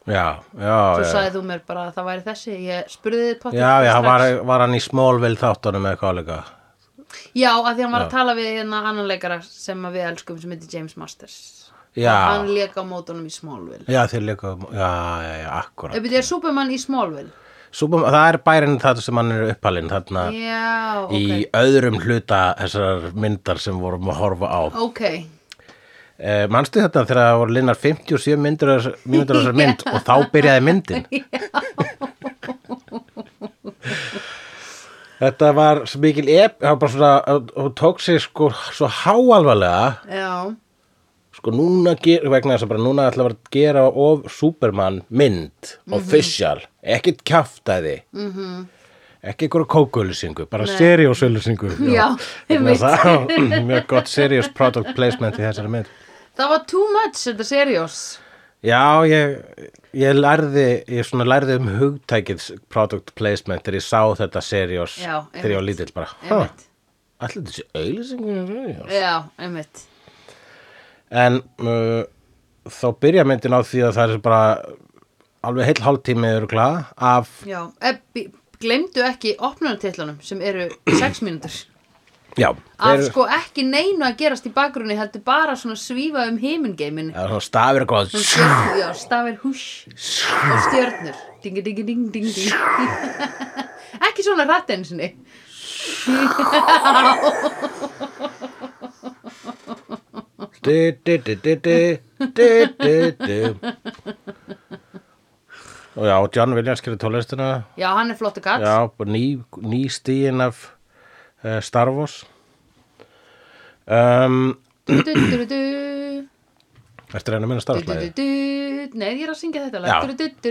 Speaker 1: Já, já,
Speaker 2: Svo
Speaker 1: já
Speaker 2: sagði þú mér bara að það væri þessi ég spurði þið podcast
Speaker 1: Já, já, var, var hann í Smallville þáttunum eða hvað líka
Speaker 2: Já, að því hann var að tala við hérna annan leikara sem að við elskum sem heitir James Masters
Speaker 1: Já.
Speaker 2: Og Hann lék á mótunum í Smallville
Speaker 1: Já, þeir líka, já, já, já, akkurat
Speaker 2: Eða er Superman í Smallville?
Speaker 1: Súbum, það er bærin þetta sem hann er uppalinn þarna
Speaker 2: Já, ok
Speaker 1: í öðrum hluta þessar myndar sem vorum að horfa á
Speaker 2: Ok,
Speaker 1: Eh, manstu þetta þegar það voru linnar 57 myndur myndur þessar mynd og þá byrjaði myndin Þetta var svo mikil ep, það var bara svona hún tók sig sko svo háalvarlega
Speaker 2: já,
Speaker 1: sko núna ger, vegna þess að bara núna ætla að vera að gera of Superman mynd,
Speaker 2: Mhm.
Speaker 1: official ekkit kjaftaði mm ekki einhverja kókulisingu, bara seriósulisingu
Speaker 2: [LAUGHS] Já, einmitt.
Speaker 1: mjög gott serious product placement í þessari mynd
Speaker 2: það var too much, þetta er seriós
Speaker 1: Já, ég, ég lærði ég svona lærði um hugtækið product placement þegar ég sá þetta seriós
Speaker 2: Já,
Speaker 1: þegar ég var
Speaker 2: einmitt.
Speaker 1: lítill bara "Ha,
Speaker 2: Einmitt,
Speaker 1: ætli þetta sé auðlýsingur
Speaker 2: já, einmitt
Speaker 1: en uh, þá byrja myndin á því að það er bara alveg heill hálftími örgla af,
Speaker 2: Já, e, bí- gleymdu ekki opnunartitlunum sem eru 6 mínútur
Speaker 1: já,
Speaker 2: Af
Speaker 1: þeir
Speaker 2: sko ekki neinu að gerast í bakgrunni heldur bara svona svífa um himingeimin
Speaker 1: það er svona stafir eitthvað
Speaker 2: Já, stafir hús og stjörnur Dingi, dingi, ding, ding, [LAUGHS] ding Ekki svona rætt einu sinni
Speaker 1: du, du, du, du, du, du, du, du. og já, John Williams gerir tónlistina
Speaker 2: Já, hann er flottu gatt
Speaker 1: Já, bara ný, ný stíin af uh, Star Wars um,
Speaker 2: Du, du, du, du, du.
Speaker 1: Ertu að reyna að minna Star
Speaker 2: Du, du, du,
Speaker 1: Wars-lægi?
Speaker 2: du. Nei, ég er að syngja þetta
Speaker 1: Já.
Speaker 2: lag. Du, du, du,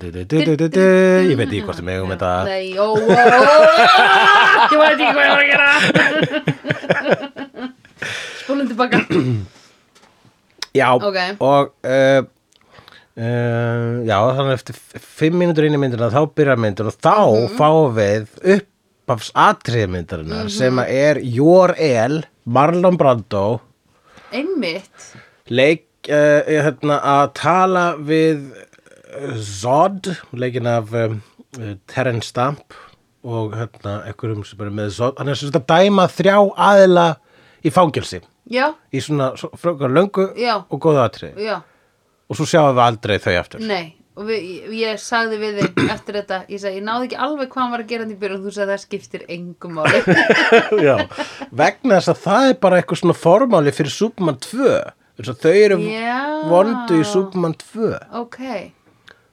Speaker 2: du, du.
Speaker 1: Ég veit ekki hvort þið megum þetta
Speaker 2: Nei, ó, ó, ó, ó, Ég veit ekki hvað ég var að gera Spólum tilbaka
Speaker 1: Já,
Speaker 2: Ok.
Speaker 1: og uh, uh, Já, þannig eftir f- fimm mínútur inn í myndina þá byrjar myndin og þá
Speaker 2: Mhm.
Speaker 1: fáum við uppafs atriðmyndarinnar sem að er Jór El, Marlon Brando
Speaker 2: Einmitt
Speaker 1: leik uh, hérna, að tala við uh, Zod, leikin af um, uh, Terence Stamp og hérna, ekkurum sem er með Zod hann er sem sagt að dæma þrjá aðila í fangelsi
Speaker 2: Já,
Speaker 1: í svona frökar löngu
Speaker 2: Já.
Speaker 1: og góða atrið
Speaker 2: já,
Speaker 1: og svo sjáum við aldrei þau
Speaker 2: [LAUGHS]
Speaker 1: aftur
Speaker 2: nei Og við, ég sagði við þig eftir þetta Ég sagði, ég náði ekki alveg hvað hann var að gera hann í byrjun og Þú sagði, það skiptir engum máli
Speaker 1: Já. vegna þess að það er bara eitthvað svona formáli fyrir Superman 2 eins og þau eru
Speaker 2: Já.
Speaker 1: vondu í Superman 2
Speaker 2: Ok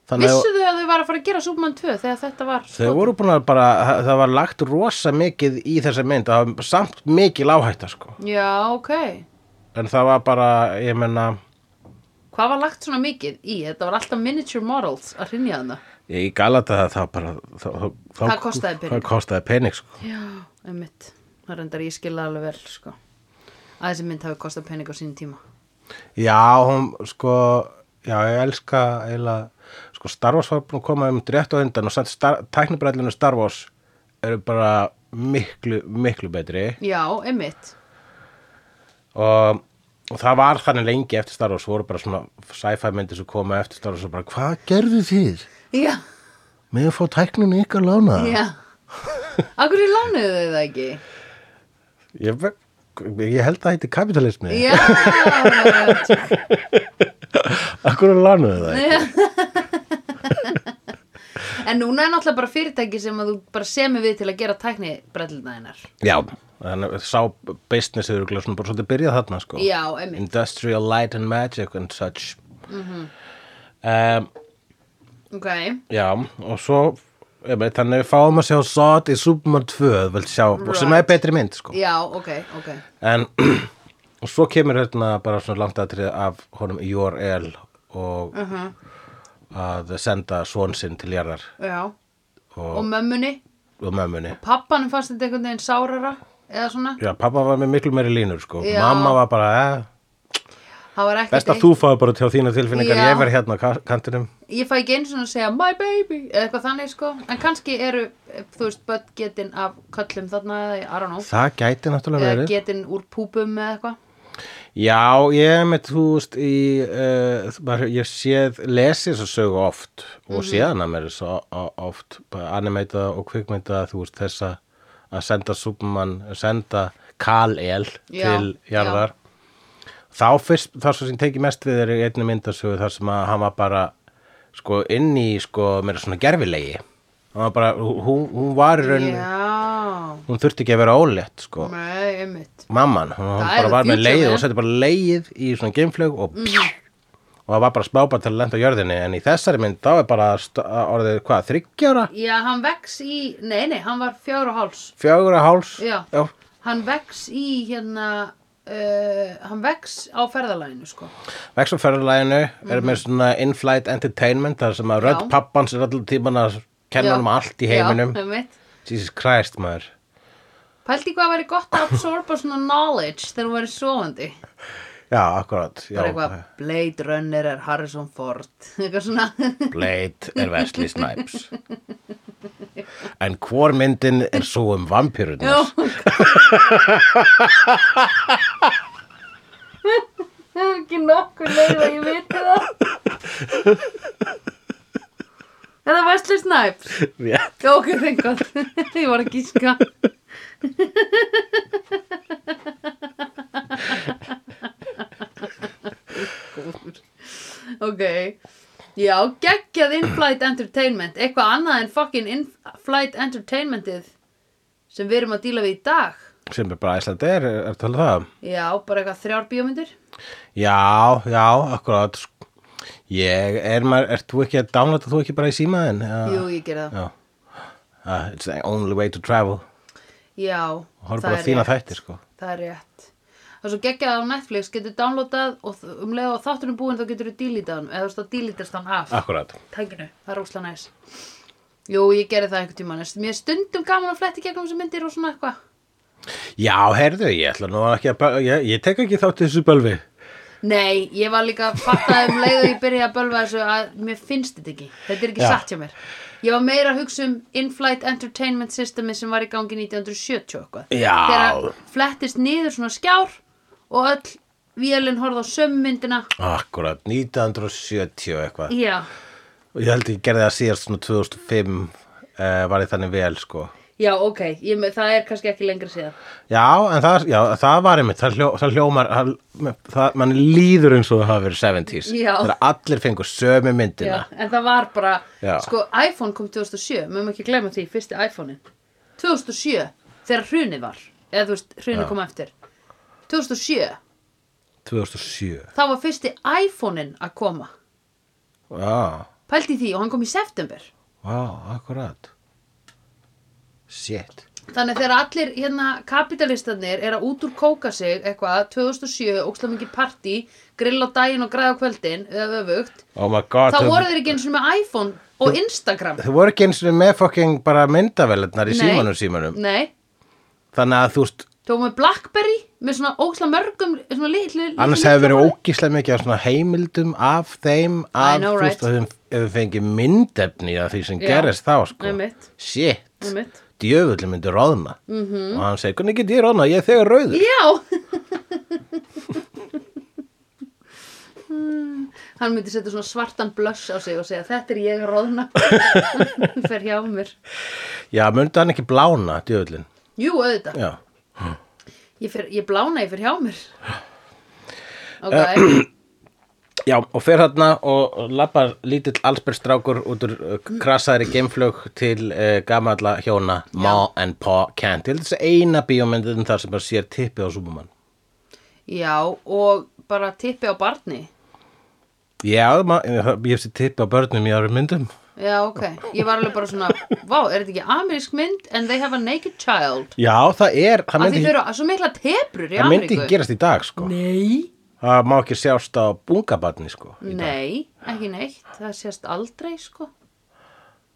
Speaker 1: þannig að
Speaker 2: Vissu þau að þau var að fara að gera Superman 2 þegar þetta var
Speaker 1: Þau voru búin að bara, það var lagt rosa mikið í þessa mynd, það var samt mikil áhætta sko.
Speaker 2: Já, ok
Speaker 1: En það var bara, ég menna,
Speaker 2: Hvað var lagt svona mikið í? Þetta var alltaf miniature models að hrynja þarna
Speaker 1: ég galata það, það bara, það, það,
Speaker 2: Það kostaði pening.
Speaker 1: Það kostaði pening sko.
Speaker 2: Já, einmitt. Það reyndar ég skilja alveg vel, sko. Að þessi mynd hafi kostað pening á sínum tíma.
Speaker 1: Já, hún, sko, já, ég elska eiginlega, sko, Star Wars var búin að koma um rétt á undan og samt star, tæknibrællinu Star Wars eru bara miklu, miklu betri.
Speaker 2: Já, einmitt.
Speaker 1: og, og það var þannig lengi eftir Star Wars voru bara svona sci-fi myndir sem komu eftir Star Wars og bara hvað gerðu þið?
Speaker 2: Já,
Speaker 1: Með að fá tækninu ykkar lána
Speaker 2: já. Akkur er lánuðu þau það ekki?
Speaker 1: ég, ve- ég held að það heiti kapitalismi
Speaker 2: Já,
Speaker 1: Akkur er lánaðu það?
Speaker 2: en núna er náttúrulega bara fyrirtæki sem að þú bara semur við til að gera tækni brellina hennar.
Speaker 1: Já, þannig að sá business eru svona bara svolítið byrjað þarna sko
Speaker 2: Já, einmitt.
Speaker 1: Industrial Light and Magic and such Mm-hmm. um,
Speaker 2: Ok,
Speaker 1: Já, og svo einmitt, þannig við fáum að sjá Sod í Superman 2 vel sjá, og sem er
Speaker 2: Right.
Speaker 1: betri mynd sko
Speaker 2: já, ok, ok.
Speaker 1: en [CLEARS THROAT] og svo kemur hérna bara svona langt aðtrið af honum URL og Mm-hmm. að senda svon sinn til jarðar
Speaker 2: já,
Speaker 1: og,
Speaker 2: og mömmunni
Speaker 1: og mömmunni
Speaker 2: pappanum fannst þetta einhvern veginn sárara eða svona,
Speaker 1: Já, pappa var með miklu meiri línur sko
Speaker 2: Já.
Speaker 1: Mamma var bara, eh,
Speaker 2: það var ekkert
Speaker 1: best
Speaker 2: eitt-
Speaker 1: að þú fáið bara til þína tilfinningar
Speaker 2: Já.
Speaker 1: Ég verð hérna á ka- kantinum
Speaker 2: ég fæ ekki eins og að segja my baby eða eitthvað þannig sko, en kannski eru eh, þú veist, börn getin af köllum þarna, eða I don't know,
Speaker 1: Það gæti náttúrulega
Speaker 2: eða
Speaker 1: verið
Speaker 2: getin úr púpum eða eitthvað,
Speaker 1: Já, ég með túst í, uh, bara, ég séð, lesi þess að sögu oft
Speaker 2: Mhm.
Speaker 1: og séðan að mér þess að oft, bara animeita og kvikmynda, þú veist, þess að að senda Superman, senda Kal-El
Speaker 2: Já,
Speaker 1: til jarðar. Þá fyrst, þar svo sem tekið mest við er í einni myndasögu þar sem að hann var bara, sko, inn í, sko, meira svona gerfilegi. Hann var bara, hún, hún var í rauninni,
Speaker 2: já
Speaker 1: hún þurfti ekki að vera ólétt, sko
Speaker 2: nei, einmitt
Speaker 1: mamman, hún
Speaker 2: Það er
Speaker 1: bara var með
Speaker 2: future,
Speaker 1: leið
Speaker 2: man.
Speaker 1: og setti bara leið í svona geimflög og
Speaker 2: Mm.
Speaker 1: og það var bara smábært til að lenda á jörðinni en í þessari mynd þá er bara st- orðið hvað, þryggjára?
Speaker 2: já, hann vex í, nei, nei, hann var fjár og háls
Speaker 1: Fjögura háls?
Speaker 2: Já. hann vex í hérna uh, hann vex á ferðalæginu sko
Speaker 1: Vexumferðarlæginu er með svona in-flight entertainment þar sem að rödd
Speaker 2: Mhm. Já.
Speaker 1: pappans er allir tíman að kenna
Speaker 2: Já.
Speaker 1: hann um allt í heiminum.
Speaker 2: já, einmitt
Speaker 1: Jesus Christ maður.
Speaker 2: Pældi hvað væri gott að absorba svona knowledge þegar hún væri svoandi.
Speaker 1: Já, akkurat. Já.
Speaker 2: Bara eitthvað, Blade Runner er Harrison Ford. [LAUGHS] Eitthvað svona.
Speaker 1: Blade er
Speaker 2: [LAUGHS]
Speaker 1: Wesley Snipes. en hvor myndin er svo um vampýrunar?
Speaker 2: Oh my god. Það er [LAUGHS] ekki nokkur leið að ég viti það. Er það Wesley Snipes?
Speaker 1: Já.
Speaker 2: Já, ok, thank god. [LAUGHS] ég var að gíska. Góður. ok. Já, geggjað in-flight entertainment. Eitthvað annað en fucking in-flight entertainmentið sem við erum að díla við í dag.
Speaker 1: [LAUGHS] sem er bara Æsland er, er talað um það
Speaker 2: Já, bara eitthvað þrjár bíómyndir.
Speaker 1: já, já, akkurat ég, er maður, ert þú ekki að downloada þú ekki bara í símaðin
Speaker 2: Jú, ég gerði það.
Speaker 1: Ah. já uh, it's the only way to travel
Speaker 2: Já,
Speaker 1: horf bara á þína þættir sko
Speaker 2: Það er rétt. Það er svo geggjað á Netflix, getur downloadað og þ- um leið og þátturinn búinn þá getur þú dílítað hann, eða þú veist að dílítast hann af
Speaker 1: akkurat,
Speaker 2: tækinu, það er ósla næs. Jú, ég gerði það einhvern tímann, en mér er stundum gaman að fletti gegnum þessu myndir og svona eitthvað.
Speaker 1: já, heyrðu, ég ætla nú ekki að böl- ég, ég tek ekki þátt í þessu bölvi
Speaker 2: Nei, ég var líka að fattaði um leið og ég byrjaði að bölva þessu að mér finnst þetta ekki. Þetta er ekki
Speaker 1: Já.
Speaker 2: satt hjá mér. Ég var meira að hugsa um in-flight entertainment systemi sem var í gangi 1970 og eitthvað.
Speaker 1: Já.
Speaker 2: Þegar flettist niður svona skjár og öll vélinn horfði á sömu myndina.
Speaker 1: akkurat, 1970 og eitthvað
Speaker 2: Já,
Speaker 1: og ég held ég gerði það síðast svona 2005 uh, var ég þannig vel sko
Speaker 2: já, ok, ég, me- það er kannski ekki lengra síðan.
Speaker 1: Já, en það, já, það var einmitt, það, hljó, það hljómar, það, það, mann líður eins og það hafi verið 70s.
Speaker 2: Já.
Speaker 1: Þegar allir fengur sömu myndina.
Speaker 2: Já, en það var bara,
Speaker 1: Já.
Speaker 2: sko, iPhone kom 2007, mögum ekki glemma því, fyrsti iPhone-in. 2007, þegar hrunið var, eða þú veist, hrunið kom á eftir. 2007,
Speaker 1: 2007.
Speaker 2: þá var fyrsti iPhone-in að koma.
Speaker 1: Já,
Speaker 2: Pældi í því og hann kom í september.
Speaker 1: vá, akkurat. Shit.
Speaker 2: Þannig að þegar allir hérna kapitalistarnir er að út úr kóka sig eitthvað 2007, ókslega mikið partí, grill á daginn og græða á kvöldin, eða öfugt,
Speaker 1: Oh my god.
Speaker 2: þá
Speaker 1: þau-
Speaker 2: voru þeir ekki eins og með iPhone og Instagram.
Speaker 1: Þau voru ekki eins og með fucking bara myndavelarnar
Speaker 2: Nei.
Speaker 1: í símanum símanum.
Speaker 2: Nei,
Speaker 1: Þannig að þú veist,
Speaker 2: Þú var með Blackberry með svona óksla mörgum svona litlu, litlu
Speaker 1: annars hefur verið ógíslega mikið af svona heimildum af þeim
Speaker 2: I
Speaker 1: af,
Speaker 2: know,
Speaker 1: þú veist,
Speaker 2: right.
Speaker 1: að þau- ef þau fengið myndefni af því sem
Speaker 2: Já.
Speaker 1: gerist þá, sko.
Speaker 2: Einmitt.
Speaker 1: Shit.
Speaker 2: Einmitt.
Speaker 1: djöfulli myndi róðna
Speaker 2: Mhm.
Speaker 1: -hmm. og hann segir, hvernig get ég róðna, ég er þegar rauður
Speaker 2: Já [LAUGHS] Hmm, Hann myndi setja svona svartan blöss á sig og segja þetta er ég að roðna [LAUGHS] fer hjá mér
Speaker 1: já, myndi hann ekki blána, djöfullin
Speaker 2: Jú, auðvitað,
Speaker 1: já,
Speaker 2: ég, fer, ég blána ég fer hjá mér Ok,
Speaker 1: já og fer þarna og lappar lítill allsbyrstrákur út úr uh, krasaðri geimflög til uh, gamalla hjóna Ma and Pa Kent ég held þessi eina bíómyndin þar sem bara sér tippið á Superman
Speaker 2: já og bara tippi á barni
Speaker 1: já, ma- ég hef sér tippið á börnum í árum myndum
Speaker 2: já, ok, ég var alveg bara svona vá, er þetta ekki amerísk mynd and they have a naked child
Speaker 1: Já, það er, það
Speaker 2: af því
Speaker 1: myndi,
Speaker 2: þau eru svo mikla tebrur í
Speaker 1: það myndi
Speaker 2: Ameríku
Speaker 1: ekki gerast í dag sko.
Speaker 2: nei,
Speaker 1: Það má ekki sjást á bungabarni sko. í dag.
Speaker 2: nei, ekki neitt það sést aldrei, sko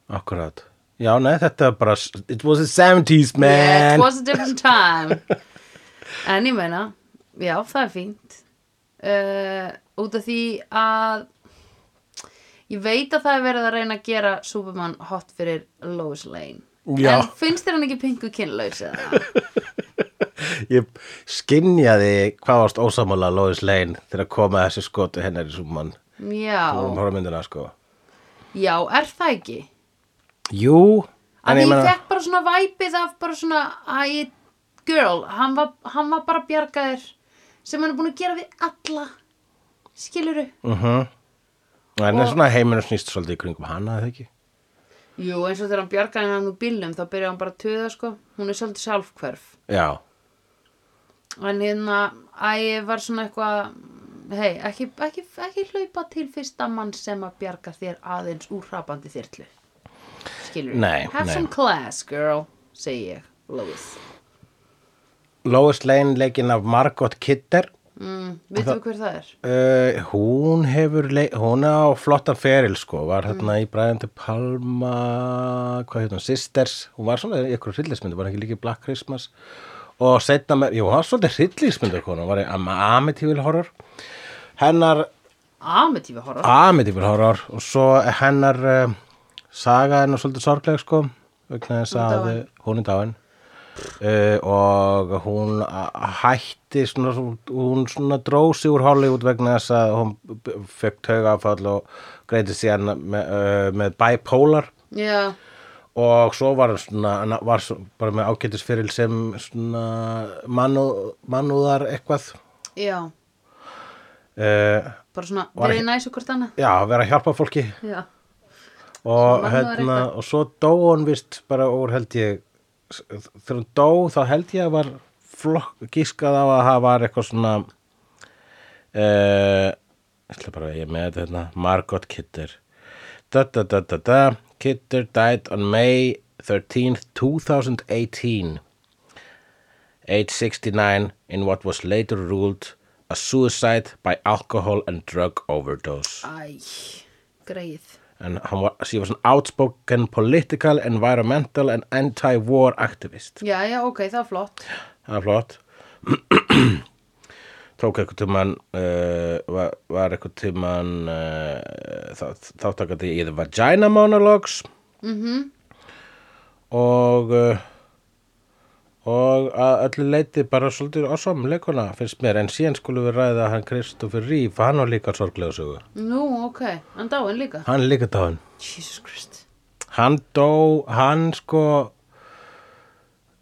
Speaker 1: Akkurát. Já, nei, þetta er bara, it was the 70s man.
Speaker 2: yeah, it was a different
Speaker 1: [LAUGHS]
Speaker 2: time en ég meina já, það er fínt uh, út af því að ég veit að það er verið að reyna að gera Superman hot fyrir Lois Lane
Speaker 1: Já.
Speaker 2: en finnst þér hann ekki pingu kynlaus
Speaker 1: [LAUGHS]
Speaker 2: eða?
Speaker 1: Ég skinjaði hvað varst ósamála Lois Lane þegar kom að þessi skotu hennar í súmann. Þú vorum
Speaker 2: já,
Speaker 1: að horfa á myndina sko.
Speaker 2: já, er það ekki
Speaker 1: Jú,
Speaker 2: að ég fekk bara svona væpið af bara svona I, girl, hann var, hann var bara bjargaður sem hann er búin að gera við alla skiluru
Speaker 1: En það er
Speaker 2: Og-
Speaker 1: svona heiminu snýst svolítið í kringum hana, eða ekki?
Speaker 2: Jú, eins og þegar hann bjargaði hann úr bílnum þá byrjaði hann bara að töða sko hún er svolítið sjálfhverf
Speaker 1: Já,
Speaker 2: en hérna að ég var svona eitthvað hei, ekki, ekki, ekki hlaupa til fyrsta mann sem að bjarga þér aðeins úr hrapandi þyrlu skilur
Speaker 1: Nei,
Speaker 2: have
Speaker 1: nei.
Speaker 2: some class girl segi ég, Lois
Speaker 1: Lois Lane leikinn af Margot Kidder
Speaker 2: mm, veitum við hver það er?
Speaker 1: uh, hún hefur leik, hún á flottan feril sko, var hérna í Bræðandi Palma hvað hérna, Sisters hún var svona í ykkur hryllismyndu, var ekki líka í Black Christmas og setna með, jú, hún var svolítið hryllismyndu hún var í Am- Amityville Horror hennar
Speaker 2: Amityville horror
Speaker 1: Amityville Horror og svo hennar uh, saga hennar svolítið sorgleg sko vegna þess
Speaker 2: Hún er
Speaker 1: að
Speaker 2: dáin.
Speaker 1: hún er dáin uh, og hún a- hætti svona, hún svona drósi úr Hollywood vegna þess að hún b- fekk taugafall og greiti síðan með, uh, með bipolar
Speaker 2: já,
Speaker 1: og svo var hann svona hann var svo, bara með ágætisfyril sem svona mannú, mannúðar eitthvað
Speaker 2: já,
Speaker 1: uh,
Speaker 2: bara svona
Speaker 1: Var
Speaker 2: verið
Speaker 1: ekki-
Speaker 2: næs og hvort annað
Speaker 1: já, vera að hjálpa fólki
Speaker 2: já, Sem
Speaker 1: og
Speaker 2: annað er
Speaker 1: hérna
Speaker 2: eitthvað.
Speaker 1: og svo dó hún vist bara úr held ég s- þegar hún dó þá held ég að var flokk gískað á að það var eitthvað svona eh, ég ætla bara að ég er með þetta hérna Margot Kidder da da da da da Kidder died on May 13th 2018 age 69 in what was later ruled a suicide by alcohol and drug overdose
Speaker 2: æ, greið
Speaker 1: and hann var, she was an outspoken political, environmental and anti-war activist
Speaker 2: já, já, ok, það er flott
Speaker 1: það er flott [CLEARS THROAT] tók eitthvað tíman uh, var, var eitthvað tíman uh, þá- þáttakandi í The Vagina Monologues -hmm. og uh, og að öllu leiti bara svolítið ásam leikuna finnst mér en síðan skulum við ræða hann Kristoffer Reeve, hann var líka sorglega sögu
Speaker 2: nú, ok, hann dáin líka
Speaker 1: hann er líka dáin
Speaker 2: Jesus Christ
Speaker 1: hann dó, hann sko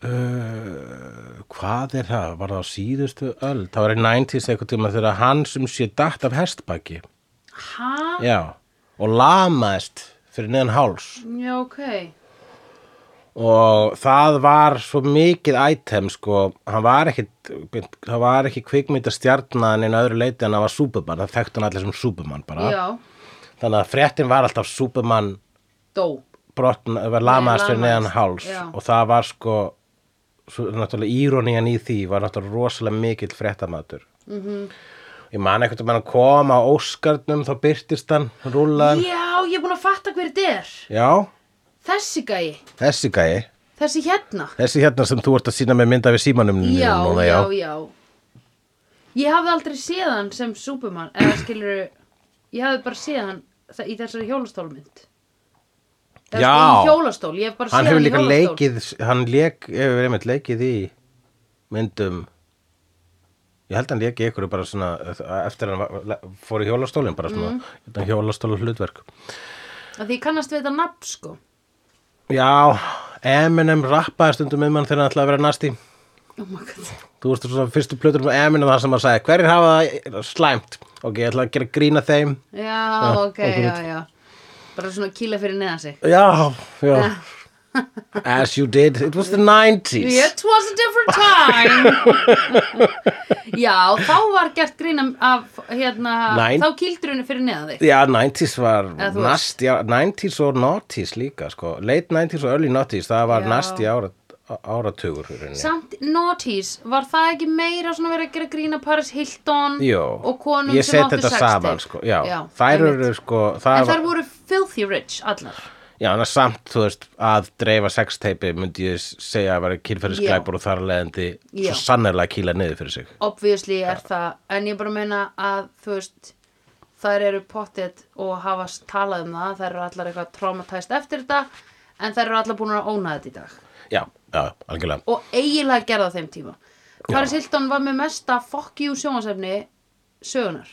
Speaker 1: uh, hvað er það var það á síðustu öll það var í 90s eitthvað tíma þegar hann sem sé datt af hestbaki
Speaker 2: Hæ?
Speaker 1: já, og lamaðist fyrir neðan háls
Speaker 2: Já, ok.
Speaker 1: og það var svo mikið item sko, hann var ekki það var ekki kvikmyndastjarnan en öðru leiti en hann var Superman það þekktu hann allir sem Superman bara
Speaker 2: Já,
Speaker 1: þannig að fréttin var alltaf Superman
Speaker 2: dó.
Speaker 1: brotna, var lamaðast fyrir
Speaker 2: lamaðist,
Speaker 1: neðan háls
Speaker 2: já.
Speaker 1: og það var sko svo, náttúrulega írónían í því var náttúrulega rosalega mikill fréttamatur mm
Speaker 2: Mhm.
Speaker 1: -hmm. ég man eitthvað að hann kom á Óskarnum þá byrtist hann, rúlaðan
Speaker 2: Já, ég er búin að fatta hver þetta er.
Speaker 1: já,
Speaker 2: Þessi gæi,
Speaker 1: þessi gæi
Speaker 2: þessi hérna.
Speaker 1: þessi hérna sem þú ert að sína með mynda við símanum þínum
Speaker 2: Já,
Speaker 1: núna,
Speaker 2: já, já. Ég hafði aldrei séð hann sem Superman, eða skilur, ég hafði bara séð hann þa- í þessari hjólastólmynd. Eða
Speaker 1: Já.
Speaker 2: sko, Í hjólastól, ég hef bara
Speaker 1: hann
Speaker 2: séð
Speaker 1: hefur
Speaker 2: hann í
Speaker 1: líka
Speaker 2: hjólastól.
Speaker 1: leikið hann leik, hefur einmitt leikið í myndum ég held hann leikið ykkur bara svona eftir hann var- fór í hjólastólinn bara svona,
Speaker 2: Mhm.
Speaker 1: mm. hjólastólu hlutverk
Speaker 2: Af Því ég kannast við þetta nafn, sko.
Speaker 1: Já, Eminem rappaði stundum um hann þegar hann ætlaði að vera nasti.
Speaker 2: Oh my god.
Speaker 1: Þú veist svona fyrstu plötur um Eminem þar sem hann sagði, hverjir hafa það slæmt? Ok, ég ætla að gera grína þeim.
Speaker 2: Já, ok, já, já. Bara svona kýla fyrir neðan sig.
Speaker 1: Já, já. [LAUGHS] As you did, it was the 90s
Speaker 2: It was a different
Speaker 1: [LAUGHS]
Speaker 2: time Já, þá var gert grín af- af hérna,
Speaker 1: Nein.
Speaker 2: þá kýldur henni fyrir neðan þig
Speaker 1: Já, 90s var
Speaker 2: Eða þú
Speaker 1: nasti, já, 90s og noughties líka sko. late 90s og early noughties það var
Speaker 2: Já.
Speaker 1: nasti árat, áratugur í rauninni.
Speaker 2: Samt Naughties, var það ekki meira svona verið að gera grín af Paris Hilton
Speaker 1: Jó,
Speaker 2: og konum
Speaker 1: ég
Speaker 2: sem
Speaker 1: set
Speaker 2: áttu
Speaker 1: þetta
Speaker 2: sex
Speaker 1: saman
Speaker 2: tape?
Speaker 1: sko. já, þær
Speaker 2: einmitt.
Speaker 1: eru sko það
Speaker 2: En þær
Speaker 1: var,
Speaker 2: voru filthy rich allar
Speaker 1: já, en samt, þú veist, að dreifa sexteipi myndi ég segja að vera kýrferðisglæpur og þar að leiðandi
Speaker 2: Já.
Speaker 1: svo sannarlega kýla niður fyrir sig
Speaker 2: Obviously er það En ég bara meina að þú veist Þær eru pottet og hafa talað um það Þær eru allar eitthvað traumatæst eftir þetta En þær eru allar búin að óna þetta í dag
Speaker 1: já, já, algjörlega
Speaker 2: Og eiginlega gerða þeim tíma Paris Hilton var með mesta fuck you sjónvarsefni sögunar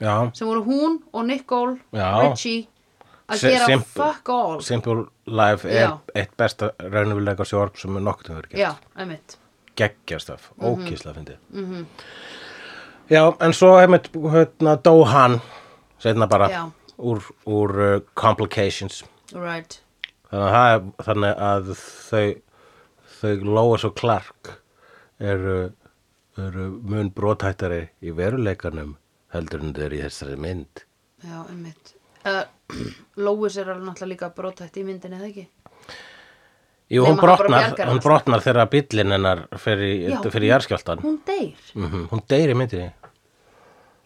Speaker 1: já,
Speaker 2: sem voru hún og Nicole
Speaker 1: Já.
Speaker 2: Richie að
Speaker 1: Se-
Speaker 2: gera
Speaker 1: simple-
Speaker 2: fuck all
Speaker 1: Simple Life er
Speaker 2: Já.
Speaker 1: eitt besta raunumlega sjórn sem er nokkuð um verið gert
Speaker 2: Já, Mhm. einmitt
Speaker 1: geggjarstöf, mm -hmm. ókísla fyndið
Speaker 2: Mhm.
Speaker 1: já, en svo einmitt, hérna, dó hann setna bara
Speaker 2: Já.
Speaker 1: úr, úr uh, complications
Speaker 2: Right
Speaker 1: þannig að, það er- þannig að þau þau Lois og Clark eru, eru mun brotættari í veruleikanum heldur en þau eru í þessari mynd
Speaker 2: Já, einmitt [CLEARS THROAT] uh, Lóis er alveg náttúrulega líka brotætt í myndinni eða ekki
Speaker 1: Jú,
Speaker 2: Nema
Speaker 1: hún
Speaker 2: hann bara
Speaker 1: brotnar,
Speaker 2: bjargar
Speaker 1: hún
Speaker 2: hans.
Speaker 1: brotnar þegar bíllinn hennar fyrir,
Speaker 2: Já,
Speaker 1: fyrir jarðskjálftan. Hún,
Speaker 2: Hún deyr
Speaker 1: Mhm, hún deyr í myndinni.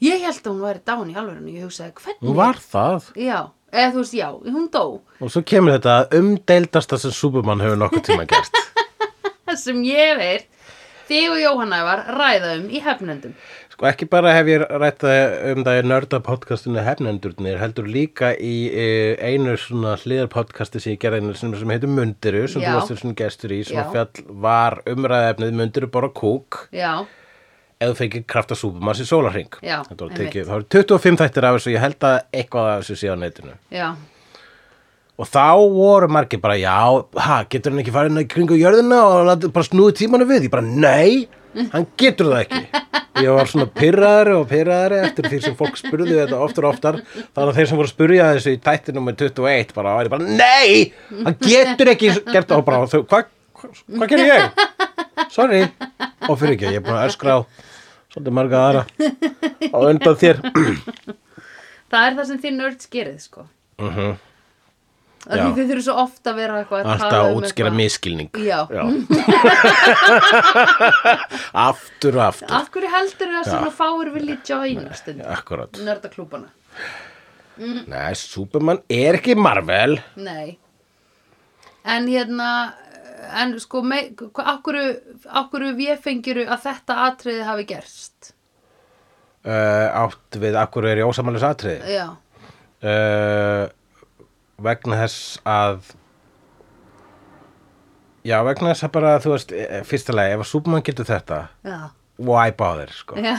Speaker 2: Ég held að hún væri dán í alvörinu, ég hugsaði hvernig
Speaker 1: Hún var það.
Speaker 2: Já, eða þú veist, já, hún dó
Speaker 1: Og svo kemur þetta umdeildasta sem Superman hefur nokkuð tíma gert.
Speaker 2: Það sem ég veit Þig og Jóhanna var ræða um í hefnendum
Speaker 1: Sko ekki bara hef ég rætt það um það í nörda podcastinu hefnendurnir, heldur líka í e, einu svona hliðarpodcasti sem ég gerði einu sem, sem heitir Mundiru, sem
Speaker 2: Já.
Speaker 1: þú varst svona gestur í, sem
Speaker 2: Já.
Speaker 1: fjall var umræðefnið Mundiru bara kúk
Speaker 2: Já,
Speaker 1: eða fengið kraft af Superman sem sólarring.
Speaker 2: Já,
Speaker 1: Þetta var
Speaker 2: einmitt.
Speaker 1: tekið, það voru 25 þættir af þessu, ég held að eitthvað af þessu sé á netinu.
Speaker 2: já,
Speaker 1: Og þá voru margir bara, já, ha, getur hann ekki farið inn í kringu jörðina og lát- bara snúið tímanum við? Ég bara, nei, hann getur það ekki. Ég var svona pyrraðari og pyrraðari eftir því sem fólk spurði þetta oftar og oftar. Þannig að þeir sem voru að spurja þessu í tætti nummer 21 bara, væri bara, nei, hann getur ekki gert það. Og bara, þau, hvað hva, hva gerir ég? Sorry. Og fyrir ekki, ég er búin að öskra á svolítið marga aðra á undan þér.
Speaker 2: það er það sem þið nörd skerið, sko
Speaker 1: uh
Speaker 2: Það
Speaker 1: Já.
Speaker 2: því þið þurfum svo oft að vera eitthvað að
Speaker 1: Alltaf
Speaker 2: tala
Speaker 1: að
Speaker 2: um
Speaker 1: útskýra
Speaker 2: eitthvað.
Speaker 1: miskilning
Speaker 2: Já. [LAUGHS]
Speaker 1: Aftur og aftur
Speaker 2: Af hverju heldur þau að svona fáir vilji joina stundum?
Speaker 1: Akkurat
Speaker 2: Nördaklúbana Mm.
Speaker 1: Nei, Superman er ekki Marvel
Speaker 2: Nei En hérna En sko, me- hva- af hverju- af hverju véfengjuru að þetta atriði hafi gerst
Speaker 1: uh, Átt við akkur er í ósamalins atriði
Speaker 2: Já,
Speaker 1: uh, Vegna þess að Já, vegna þess að bara, þú veist, eh, fyrsta lagi, ef að Superman getur þetta,
Speaker 2: já,
Speaker 1: why bother, sko?
Speaker 2: já,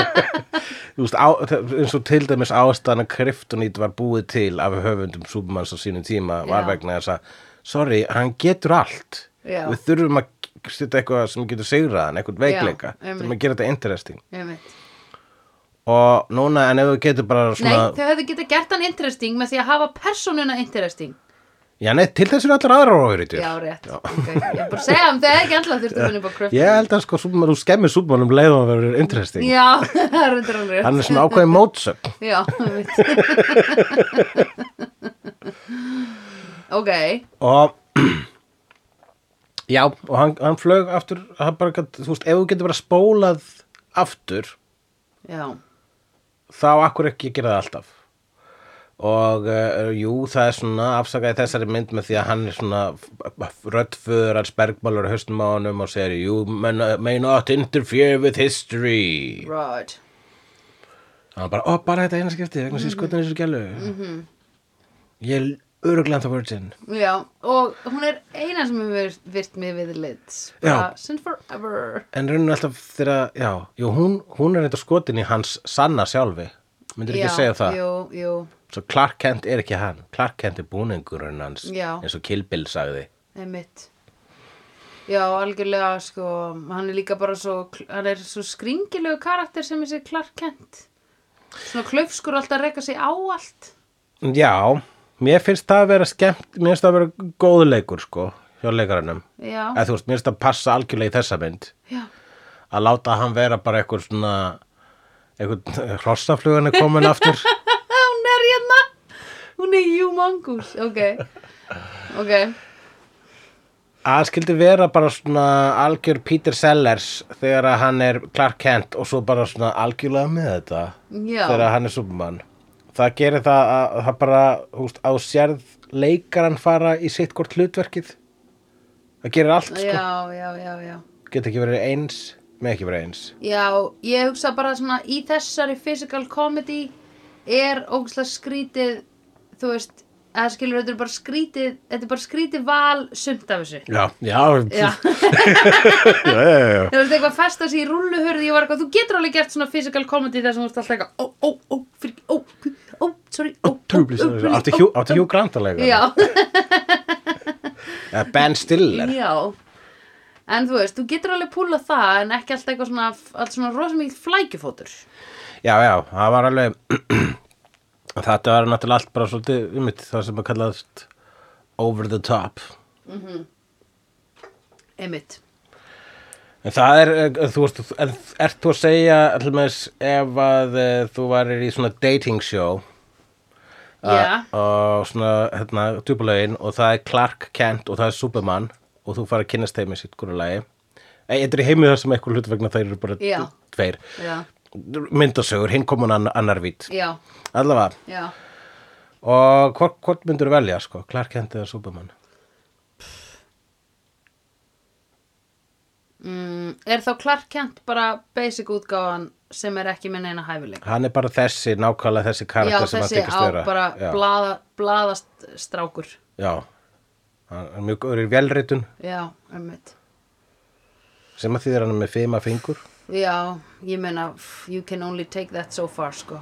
Speaker 2: [LAUGHS]
Speaker 1: Þú veist, á, eins og til dæmis ástæðan að kryptonít var búið til af höfundum Supermans á sínum tíma var
Speaker 2: Já.
Speaker 1: vegna þess að, sorry, hann getur allt.
Speaker 2: Já.
Speaker 1: Við þurfum að k- setja eitthvað sem getur sigraðan, eitthvað veikleika.
Speaker 2: einmitt.
Speaker 1: Þurfum að gera þetta interesting.
Speaker 2: einmitt
Speaker 1: Og núna, en ef þú getur bara svona...
Speaker 2: Nei, þau hefðu getað gert hann interesting með því að hafa persónuna interesting
Speaker 1: Já, nei, til þess eru allar aðra ofurítjur.
Speaker 2: Já, rétt, ok Ég er bara að segja um þau ekki alltaf þurftu að finna upp á kröftum
Speaker 1: Ég held að sko, Superman, þú skemmir Superman um leið og hann verður interesting.
Speaker 2: Já, [LAUGHS] það er undir hann rétt
Speaker 1: Hann er svona ákveðin mótsögn.
Speaker 2: Já, einmitt
Speaker 1: [LAUGHS]
Speaker 2: Ok,
Speaker 1: og já, og hann, hann flög aftur hann bara, gat- þú veist, ef þú getur bara spólað aftur,
Speaker 2: já,
Speaker 1: þá akkur ekki gera það alltaf og uh, jú, það er svona afsakaði þessari mynd með því að hann er svona röddföður hans bergmálur haustum á honum og segir you may- may not interfere with history
Speaker 2: right
Speaker 1: og hann bara, ó, bara þetta eina skipti vegna sér skotin í svo gælu mm -hmm. ég er öruglega ennþá virgin
Speaker 2: Já, og hún er eina sem hefur virt mig við lit
Speaker 1: Já.
Speaker 2: Since forever
Speaker 1: En raunin alltaf þegar, já, jú, hún, hún er eitthvað skotin í hans sanna sjálfi. Myndir ekki
Speaker 2: Já,
Speaker 1: segja það?
Speaker 2: Jú, jú,
Speaker 1: Svo Clark Kent er ekki hann. Clark Kent er búningurinn hans,
Speaker 2: Já.
Speaker 1: eins og Kill Bill sagði.
Speaker 2: einmitt Já, algjörlega, sko Hann er líka bara svo, hann er svo skringilegu karakter sem er sér Clark Kent Svona klaufskur alltaf að reyka sig á allt
Speaker 1: Já, mér finnst það að vera skemmt, mér finnst það að vera góðu leikur sko, hjá leikaranum
Speaker 2: Já,
Speaker 1: eða þú veist, mér finnst það að passa algjörlega í þessa mynd
Speaker 2: já,
Speaker 1: að láta hann vera bara eitthvað svona eitthvað hrossaflugan er komin aftur
Speaker 2: hún er hérna Hún er humongous, ok Ok,
Speaker 1: að hann skildi vera bara svona algjör Peter Sellers þegar að hann er Clark Kent og svo bara svona algjörlega með þetta
Speaker 2: Já.
Speaker 1: þegar að hann er Superman það gerir það að að það bara húst, á sérð leikaran fara í sitt hvort hlutverkið það gerir allt sko,
Speaker 2: já, já, já, já
Speaker 1: geta ekki verið eins með ekki verið eins
Speaker 2: Já, ég hugsa bara svona í þessari physical comedy er ógustlega skrítið þú veist, eða skilur þetta er bara skrítið, þetta er bara skrítið val sumt af þessu
Speaker 1: já, já,
Speaker 2: [LAUGHS] Já, þú
Speaker 1: [LAUGHS] já, já, já.
Speaker 2: veist eitthvað festa sig í rulluhörði ég var eitthvað, þú getur alveg gert svona physical comedy þar sem þú ert alltaf eitthvað, ó, ó, ó, fyrir, ó, ó, sorry, ó, ó, ó,
Speaker 1: Trúblis-
Speaker 2: ó,
Speaker 1: Átti
Speaker 2: ó,
Speaker 1: Hugh- átti Hugh Grant að leika
Speaker 2: Já, [LAUGHS]
Speaker 1: Eða Ben Stiller
Speaker 2: já En þú veist, þú getur alveg púla það en ekki alltaf eitthvað svona, allt svona rosa mikið flækjufótur
Speaker 1: Já, já, það var alveg [CLEARS THROAT] Þetta var náttúrulega allt bara svolítið um það sem að kallast over the top
Speaker 2: Einmitt
Speaker 1: En það er, eh, þú veist, en ert þú að segja allmest ef að eh, þú varir í svona dating show
Speaker 2: Já,
Speaker 1: og svona, hérna, djúpulegin og það er Clark Kent og það er Superman og þú fara að kynast þeim í sitt hverju lagi Ei, þetta er í heimu þar sem eitthvað hlut vegna þeir eru bara
Speaker 2: Já.
Speaker 1: tveir
Speaker 2: já,
Speaker 1: myndasögur, hinn komun ann annar vít
Speaker 2: já,
Speaker 1: allavega
Speaker 2: já
Speaker 1: Og hvort, hvort myndur velja, sko? Clark Kent eða Superman?
Speaker 2: mm, Er þá Clark Kent bara basic útgáfan sem er ekki með neina hæfileik
Speaker 1: Hann er bara þessi, nákvæmlega þessi
Speaker 2: Já,
Speaker 1: karakter sem hann
Speaker 2: þessi
Speaker 1: þykist
Speaker 2: á
Speaker 1: vera.
Speaker 2: bara
Speaker 1: já,
Speaker 2: blaða, blaðast strákur
Speaker 1: já, hann er mjög góður í velritun
Speaker 2: Já, einmitt
Speaker 1: sem að þýðir hann er með fima fingur.
Speaker 2: Já, ég meina, pff, you can only take that so far,
Speaker 1: [LAUGHS]
Speaker 2: sko.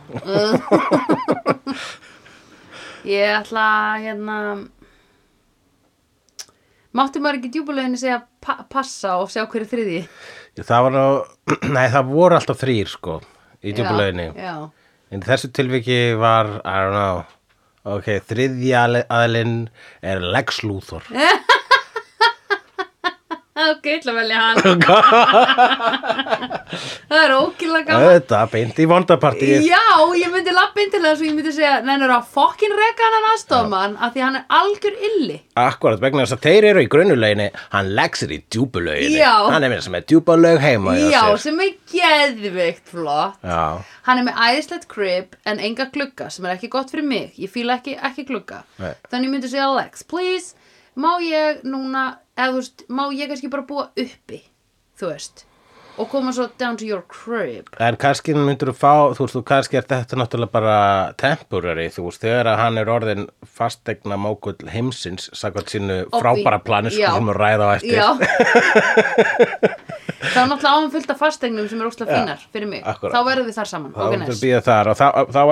Speaker 2: ég ætla, að, hérna, mátti maður ekki djúbuleginu segja pa passa og sjá hverju þriði?
Speaker 1: Það var nú, [CLEARS THROAT] nei, það voru alltaf þrýr, sko, í djúpulauginni.
Speaker 2: Já,
Speaker 1: En í þessu tilviki var, I don't know, ok, þriðja aðlinn er Lex Luthor.
Speaker 2: já. ok, ég ætla að velja
Speaker 1: [LAUGHS]
Speaker 2: hann. það er ókýrlega gaman.
Speaker 1: Þetta, beint í vondapartíð.
Speaker 2: Já, ég myndi lappin til þess og ég myndi segja, neina, er að fokkin reka hann aðstofmann af því að hann er algjör illi.
Speaker 1: Akkurat, vegna þess að þeir eru í grunulauginni, hann Lex er í djúpulauginni.
Speaker 2: Já.
Speaker 1: Hann er með sem er djúpulaug heima hjá
Speaker 2: Já,
Speaker 1: sér.
Speaker 2: sem er geðvikt flott.
Speaker 1: Já,
Speaker 2: Hann er með æðislegt crib en enga glugga sem er ekki gott fyrir mig. Ég fíla ekki, ekki glugga.
Speaker 1: Nei.
Speaker 2: Þannig ég myndi segja Alex, please, má ég núna, eða þú veist, má ég kannski bara búa uppi, þú veist, og koma svo down to your crib.
Speaker 1: en kannski myndur þú fá, þú veist, þú kannski er þetta náttúrulega bara temporary, þú veist, þegar að hann er orðin fastegna mókull heimsins, sagðat sínu frábæra plani, sko,
Speaker 2: já.
Speaker 1: sem við ræða á eftir.
Speaker 2: Já. [LAUGHS] Þá er náttúrulega áum fullt af fastegnum sem er óslega fínar fyrir mig.
Speaker 1: akkúrat.
Speaker 2: Þá verðum við þar saman. ok,
Speaker 1: Það var
Speaker 2: nice.
Speaker 1: að býða þar og þá, þá, þá,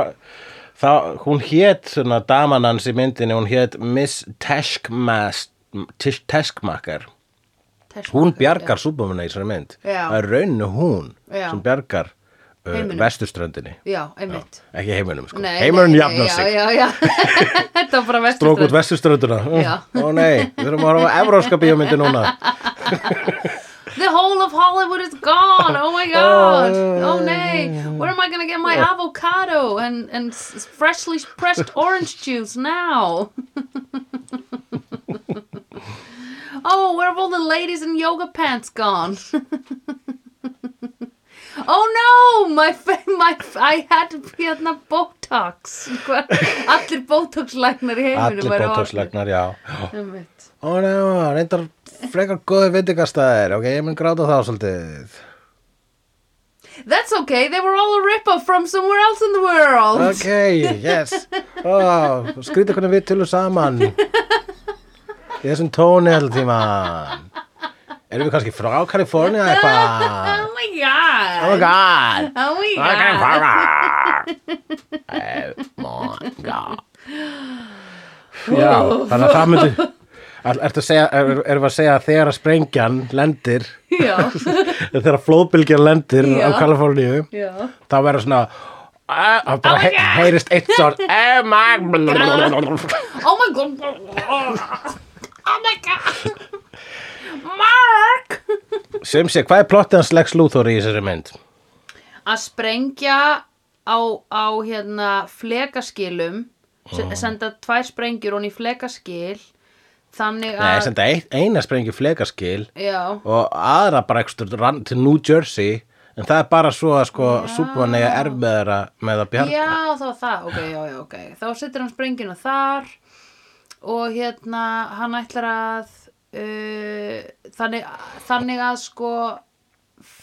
Speaker 1: þá hún hét, svona, daman hans í myndinni, hún hét Miss Teshkmas, Tesh- Teshkmaker.
Speaker 2: Þess-
Speaker 1: Hún bjargar súbumuna í þessari mynd.
Speaker 2: Já.
Speaker 1: Það er rauninu hún
Speaker 2: Já.
Speaker 1: sem bjargar uh,
Speaker 2: Heiminum.
Speaker 1: vesturströndinni.
Speaker 2: Já, einmitt.
Speaker 1: Ekki heiminum, sko.
Speaker 2: Nei,
Speaker 1: Heimurinn
Speaker 2: nei, nei,
Speaker 1: jafnar sig.
Speaker 2: Já, [LAUGHS] já, já. Þetta var bara vestur.
Speaker 1: Strók út vesturströnduna.
Speaker 2: Já.
Speaker 1: Ó nei, við erum að horfa á evróska bíómyndi núna.
Speaker 2: The whole of Hollywood is gone. Oh my god. Oh,
Speaker 1: Oh.
Speaker 2: nay. Where am I going to get my avocado and, and s- freshly pressed orange juice now? [LAUGHS] oh, where have all the ladies in yoga pants gone? [LAUGHS] oh no, my fa- my I had hérna Botox. [LAUGHS] Hva- Allir Botox læknar í heiminum
Speaker 1: Allir
Speaker 2: eru
Speaker 1: bótókslegnar, já.
Speaker 2: orðnir. Einmitt.
Speaker 1: Ó nei, ó, reyndar frekar góði veitingastæðir, ok, ég mun gráta þá svolítið.
Speaker 2: That's okay, they were all a rip-off from somewhere else in the world.
Speaker 1: Ok, yes. Ó, skrýta hvernig við tölum saman. Í þessum tóni alltaf tíman. Erum við kannski frá Kalifornía eitthvað?
Speaker 2: Oh my god.
Speaker 1: Oh my god.
Speaker 2: Oh my
Speaker 1: Oh my
Speaker 2: god.
Speaker 1: god. Oh my god. Já, þannig að það myndi Er, ertu að segja, er, erum við að segja að þegar að sprengjan
Speaker 2: [LAUGHS]
Speaker 1: lendir
Speaker 2: Já,
Speaker 1: þegar flóðbylgjan lendir
Speaker 2: Já.
Speaker 1: á Kaliforníu
Speaker 2: já.
Speaker 1: þá verður svona að
Speaker 2: Oh
Speaker 1: bara
Speaker 2: my
Speaker 1: he
Speaker 2: God.
Speaker 1: heyrist eitt sár Emma
Speaker 2: Oh my god Oh my god Mark
Speaker 1: sem sé, hvað er plottið hans Lex Luthor í þessari mynd?
Speaker 2: Að sprengja á, á hérna flekaskilum se- senda tvær sprengjur hún í flekaskil þannig
Speaker 1: Nei,
Speaker 2: að
Speaker 1: senda ein- eina sprengju flekaskil
Speaker 2: Já,
Speaker 1: og aðra bara ekstur rann til New Jersey en það er bara svo að sko Superman eiga erfiðara með að bjarga
Speaker 2: já þá það ok, já, já, ok, þá setur hann sprengjuna þar og hérna hann ætlar að uh, þannig, þannig að sko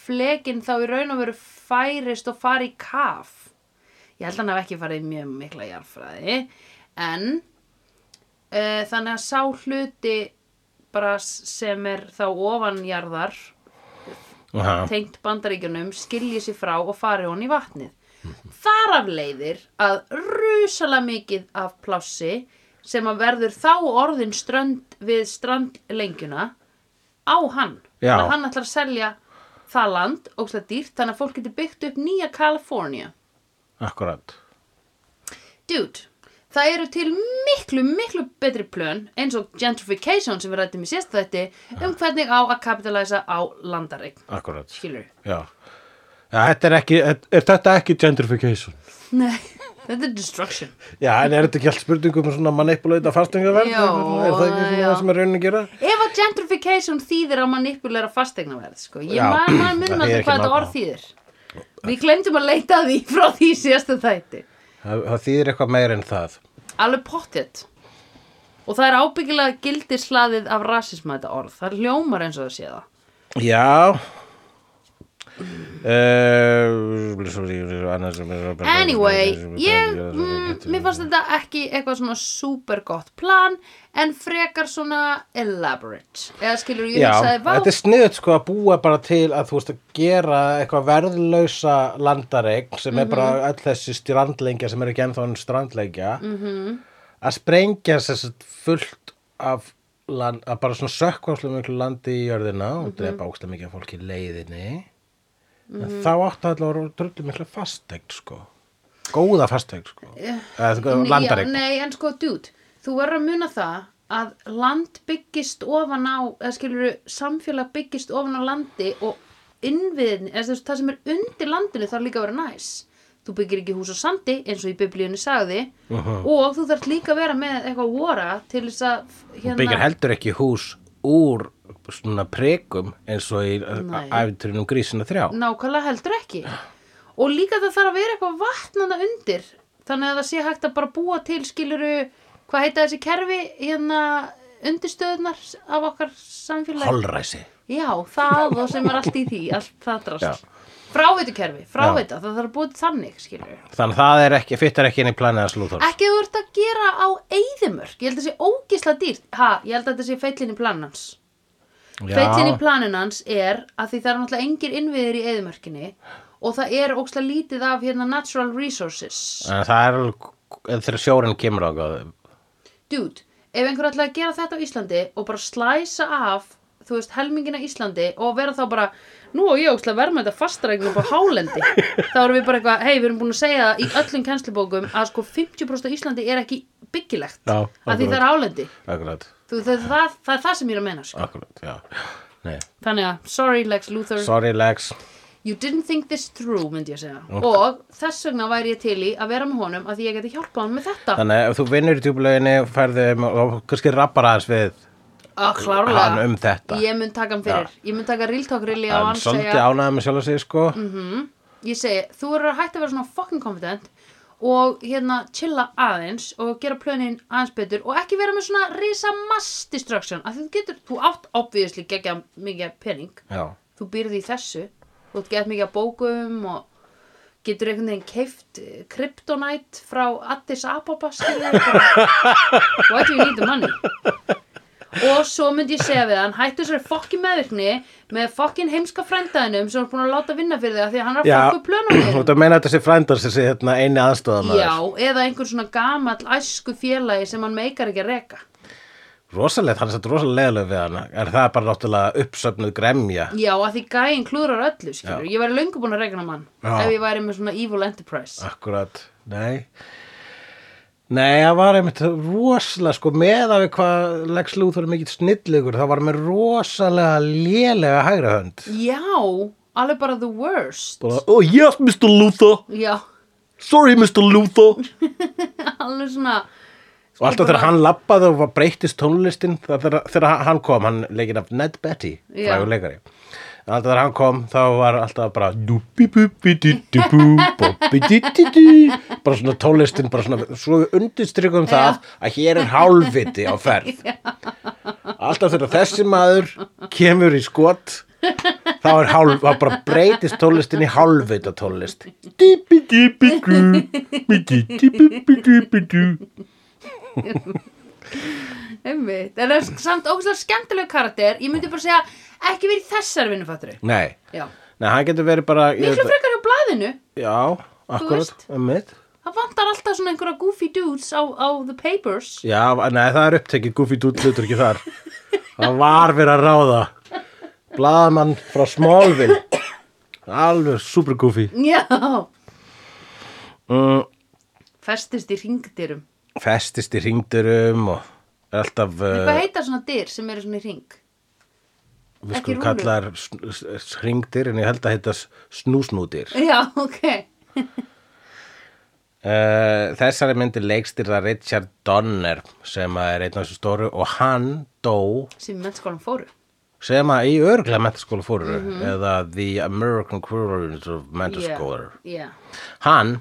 Speaker 2: flekin þá í raun og veru færist og fari í kaf ég held að hann hafi ekki farið í mjög mikla jarðfræði en uh, þannig að sá hluti bara sem er þá ofanjarðar
Speaker 1: Aha.
Speaker 2: tengt bandaríkjunum skilji sér frá og fari hún í vatnið. Þar af leiðir að rusalega mikið af plássi sem að verður þá orðin strönd við strandlengjuna á hann.
Speaker 1: Já.
Speaker 2: Þannig að hann ætlar að selja það land, ógstlega dýrt, þannig að fólk getur byggt upp nýja Kalifornía.
Speaker 1: Akkurat
Speaker 2: Dude, það eru til miklu, miklu betri plön eins og gentrification sem við rættum í sérst þætti um hvernig á að kapitalæsa á landareign.
Speaker 1: Akkurat
Speaker 2: Skilur
Speaker 1: Já Já, þetta er ekki, er þetta ekki gentrification?
Speaker 2: Nei, þetta er destruction.
Speaker 1: Já, en er þetta ekki allt spurningum um svona manipulata fastingaverð?
Speaker 2: Já,
Speaker 1: er það ekki svona
Speaker 2: já.
Speaker 1: það sem er raunin að gera?
Speaker 2: Ef að gentrification þýðir að manipulera fasteignaverð, sko. Ég
Speaker 1: Já.
Speaker 2: maður maður munum
Speaker 1: Það þýðir
Speaker 2: alltaf
Speaker 1: ekki
Speaker 2: hvað þetta
Speaker 1: nákvæmlega.
Speaker 2: orð þýðir. Við glemdum að leita að því frá því síðasta þætti.
Speaker 1: Það, það þýðir eitthvað meira en það.
Speaker 2: Alveg pottet. Og það er ábyggilega gildi slaðið af rasisma þetta orð. Það hljómar eins og það sé það.
Speaker 1: Já. Uh,
Speaker 2: Anyway, ég, mm,
Speaker 1: um
Speaker 2: mér fannst þetta ekki eitthvað svona super gott plan, en frekar svona elaborate. Eða skilur ég
Speaker 1: Já,
Speaker 2: hugsaði, vá,
Speaker 1: þetta er sniðut sko að búa bara til að þú veist að gera eitthvað verðlausa landareign sem er
Speaker 2: Mhm.
Speaker 1: bara öll þessi strandlengja sem er ekki ennþá en strandlengja -hmm.
Speaker 2: Mhm.
Speaker 1: að sprengja þessi fullt af land, að bara svona sökkvarslega miklu landi í jörðina
Speaker 2: Mhm.
Speaker 1: og drepa ókslega mikið af fólki í leiðinni
Speaker 2: Mhm.
Speaker 1: en þá áttu allavega drullu miklu fasteign sko góða fasteign sko yeah.
Speaker 2: Nei,
Speaker 1: landareign
Speaker 2: Eh, já, Nei, en sko, dude, þú verður að muna það að land byggist ofan á, eða skilur samfélag byggist ofan á landi og innviðin, eða þess, það sem er undir landinu þarf líka að vera næs. Þú byggir ekki hús á sandi eins og í biblíunni sagði og þú þarf líka að vera með eitthvað vora til þess að hérna,
Speaker 1: Hún byggir heldur ekki hús úr svona prekum eins og í
Speaker 2: Nei.
Speaker 1: æfinturinn um grísina þrjá.
Speaker 2: nákvæmlega heldur ekki og líka það þarf að vera eitthvað vatnana undir þannig að það sé hægt að bara búa til skiluru, hvað heita þessi kerfi hérna undirstöðunar af okkar samfélagi
Speaker 1: Holræsi.
Speaker 2: já, það og sem er allt í því allt það drast fráveitukerfi, fráveita, það þarf að búa til þannig skiluru
Speaker 1: Þannig að það er ekki, fyttar ekki inn í planið að slúþór.
Speaker 2: ekki að þú ert að gera á eyðimörk ég held að það sé ógisla dýrt ha, ég held að þetta sé feillin í planans Feittin í planin hans er að því það er náttúrulega engir innviðir í eðumörkinni og það er ókslega lítið af hérna natural resources.
Speaker 1: En það er alveg, en þegar sjórinn kemur á góð.
Speaker 2: Dude, ef einhver ætlaði að gera þetta á Íslandi og bara slæsa af, þú veist, helmingina Íslandi og vera þá bara, nú og ég ókslega verma þetta fastaregnum á hálendi. þá erum við bara eitthvað, hei, við erum búin að segja það í öllum kennslubókum að sko 50% af Íslandi er ekki byggilegt
Speaker 1: Já,
Speaker 2: að því það er hálendi.
Speaker 1: Akkurat,
Speaker 2: Þú, það, það, það er það sem ég er að menna, sko.
Speaker 1: akkurat, já. Nei,
Speaker 2: Þannig að, sorry Lex Luthor.
Speaker 1: sorry Lex.
Speaker 2: You didn't think this through, myndi ég segja. Og þess vegna væri ég til í að vera með honum að því ég geti hjálpað hann með þetta.
Speaker 1: Þannig að ef þú vinnur í tjúbulöginni og færðu og kannski rappar aðeins við
Speaker 2: Að Ah, klárlega.
Speaker 1: hann um þetta.
Speaker 2: Ég mun taka hann fyrir. Ég mun taka ríltókrilli á
Speaker 1: Hann
Speaker 2: hann
Speaker 1: svolítið
Speaker 2: segja. Mhm.
Speaker 1: ánægði með sjálf að segja sko.
Speaker 2: Ég segi, þú verður að hætta að vera svona fucking confident og hérna chilla aðeins og gera plönin aðeins betur og ekki vera með svona risa mass destruction. Af því þú getur, þú átt obviously gegja mikið pening.
Speaker 1: Já,
Speaker 2: þú byrði í þessu þú ert gett mikið að bókum og getur einhvern veginn keift kryptonite frá Addis Ababa skilur við, bara, what do you need the money og svo myndi ég segja við hann hættu þessari fokkin meðvirkni með fokkin heimska frændaðinum sem er búin að láta vinna fyrir þig af því að hann er að
Speaker 1: já.
Speaker 2: fokka upp
Speaker 1: [CLEARS THROAT]
Speaker 2: plönum
Speaker 1: Þú ert að meina þetta sé frændar sem sé hérna eini aðstofamæður.
Speaker 2: já, eða einhver svona gamall æsku félagi sem hann meikar ekki að reka
Speaker 1: rosalegt, hann er satt rosalega leðilega við hana en það er bara náttúrulega uppsöfnuð gremja
Speaker 2: Já, að því gæinn klúrar öllu, skilur. Ég væri löngu búin að regna mann
Speaker 1: Já.
Speaker 2: ef ég væri með svona evil enterprise.
Speaker 1: akkurat, nei nei, það var einmitt rosalega sko með af hvað Lex Luthor er mikill snillugur það var með rosalega lélega hægra hönd
Speaker 2: Já, alveg bara the worst.
Speaker 1: bara, oh yes Mr. Luthor
Speaker 2: Já, [LAUGHS]
Speaker 1: sorry Mr. Luthor
Speaker 2: alveg svona...
Speaker 1: og alltaf þegar hann lappaði og var breytist tónlistin þegar, þegar hann kom, hann leikinn af Ned Betty
Speaker 2: Já.
Speaker 1: frægur leikari En alltaf þegar hann kom þá var alltaf bara dúbibubididibú, bobbidididu, bara svona tónlistin bara svona, svo við undirstrykum það að hér er hálfviti á ferð alltaf þegar þessi maður kemur í skot þá er hálf, þá bara breytist tónlistin í hálfvita tónlist dibidibidú, bididibidibidú
Speaker 2: Einmitt, en það er samt ógæslega skemmtileg karakter Ég myndi bara segja, ekki verið í þessar vinnufatturu
Speaker 1: Nei,
Speaker 2: Já,
Speaker 1: nei, hann getur verið bara ég
Speaker 2: miklu
Speaker 1: veit það-
Speaker 2: frekar hjá blaðinu
Speaker 1: Já, akkurat,
Speaker 2: veist.
Speaker 1: um mitt
Speaker 2: Það vantar alltaf svona einhverja goofy dudes á, á the papers
Speaker 1: Já, nei, það er upptekið Goofy Doodle hlutur ekki þar Það var verið að ráða Blaðamann frá Smallville Alveg super Goofy
Speaker 2: Já,
Speaker 1: mm,
Speaker 2: festist í ringdyrum
Speaker 1: Festist í ringdurum og er alltaf
Speaker 2: Hvað
Speaker 1: uh,
Speaker 2: heita svona dyr sem eru svona í ring?
Speaker 1: Við
Speaker 2: ekki rúlur?
Speaker 1: skulum kalla þær sn- s- hringdir en ég held að heita s- snúsnútir
Speaker 2: Já, ok
Speaker 1: Uh, þessari myndi leikstýrða Richard Donner sem að er einn af þessu stóru og hann dó
Speaker 2: Sem mennskólan fóru
Speaker 1: sem að í örglega mentaskóla fóru
Speaker 2: Mhm.
Speaker 1: eða The American Equivalent of Mentaskóla
Speaker 2: Já,
Speaker 1: hann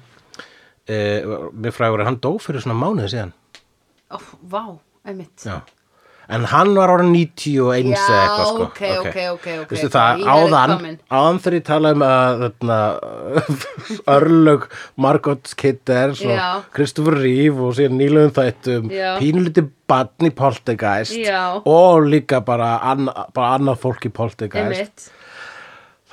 Speaker 1: uh, mér frægur að hann dó fyrir svona mánuði síðan
Speaker 2: Ó, vá, einmitt
Speaker 1: já En hann var ára 91
Speaker 2: Já,
Speaker 1: eða eitthvað sko.
Speaker 2: ok, ok, ok, ok.
Speaker 1: Veistu
Speaker 2: Ég
Speaker 1: það,
Speaker 2: er
Speaker 1: áðan,
Speaker 2: komin.
Speaker 1: áðan þegar ég tala um að þarna, [LAUGHS] örlög Margot Kidder
Speaker 2: Já.
Speaker 1: og Christopher Reeve og síðan nýlöðum þættum,
Speaker 2: Já.
Speaker 1: pínuliti barn í Poltergeist
Speaker 2: Já.
Speaker 1: og líka bara, anna, bara annað fólk í Poltergeist.
Speaker 2: Einmitt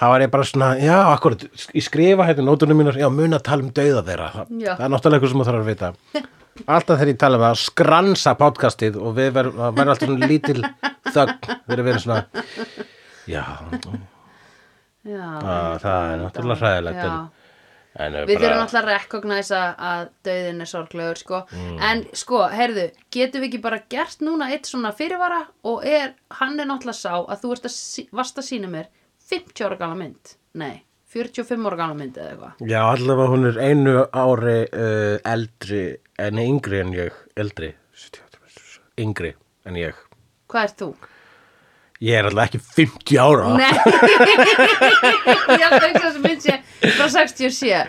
Speaker 1: Það var ég bara svona, já, akkurat, ég skrifa hérna í nótunum mínar, já, mun að tala um dauða þeirra. Þa,
Speaker 2: Já.
Speaker 1: það er náttúrulega eitthvað sem maður þarf að
Speaker 2: [LAUGHS]
Speaker 1: vita. Alltaf þegar ég tala um að skransa podcastið og við verðum, það verður alltaf svona lítil þögn, við erum verið svona,
Speaker 2: Já,
Speaker 1: já, að,
Speaker 2: einmitt.
Speaker 1: það er náttúrulega hræðilegt.
Speaker 2: Já.
Speaker 1: En, en eh,
Speaker 2: Við þurfum alltaf að rekognæsa að döðin er sorglegur sko. En sko, heyrðu, getum við ekki bara gert núna eitt svona fyrirvara og er, hann er náttúrulega sá að þú ert að, sí- varst að sína mér 50 ára gala mynd. Nei, 45 ára gala mynd eða eitthvað.
Speaker 1: Já, allavega hún er einu ári uh, eldri, en yngri en ég, eldri, 78, yngri en ég.
Speaker 2: Hvað ert þú?
Speaker 1: Ég er allavega ekki 50 ára.
Speaker 2: Nei, [LAUGHS] ég held ekki þessi mynd sé frá 67.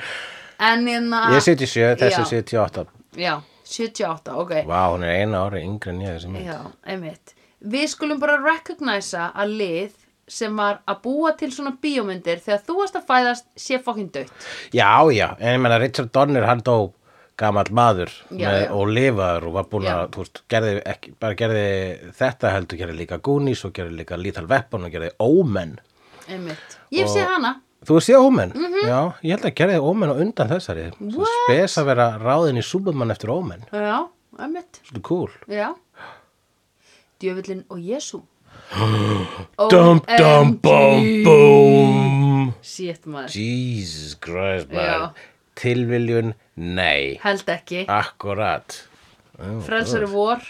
Speaker 2: En inna,
Speaker 1: Ég er 77, þessi
Speaker 2: Já.
Speaker 1: er 78.
Speaker 2: Já, 78, ok.
Speaker 1: Vá, hún er einu ári yngri en ég þessi mynd.
Speaker 2: Já, einmitt. Við skulum bara recognisa að lið sem var að búa til svona bíómyndir þegar þú varst að fæðast sé fokkin dött.
Speaker 1: Já, já, en ég menna Richard Donner hann dó gamall maður
Speaker 2: Já,
Speaker 1: með,
Speaker 2: já.
Speaker 1: og lifaður og var búin að,
Speaker 2: Já.
Speaker 1: þú veist, gerði ekki, bara gerði þetta heldur, gerði líka Goonies og gerði líka Lethal Weapon og gerði Omen.
Speaker 2: Einmitt. Ég hef séð hana.
Speaker 1: Þú veist ég Omen? Já, ég held að gerði Omen og undan þessari. Svo
Speaker 2: Mhm. What?
Speaker 1: Spes að vera ráðin í Superman eftir Omen.
Speaker 2: Já, einmitt.
Speaker 1: Svolítið cool.
Speaker 2: Já. Djöfullin og Jésu.
Speaker 1: [GASPS] Dum, dum, bum, bum.
Speaker 2: Sétt maður.
Speaker 1: Jesus Christ, maður.
Speaker 2: Já.
Speaker 1: Tilviljun, nei.
Speaker 2: Held ekki.
Speaker 1: Akkurat. Oh,
Speaker 2: Frelsari
Speaker 1: guð.
Speaker 2: vor,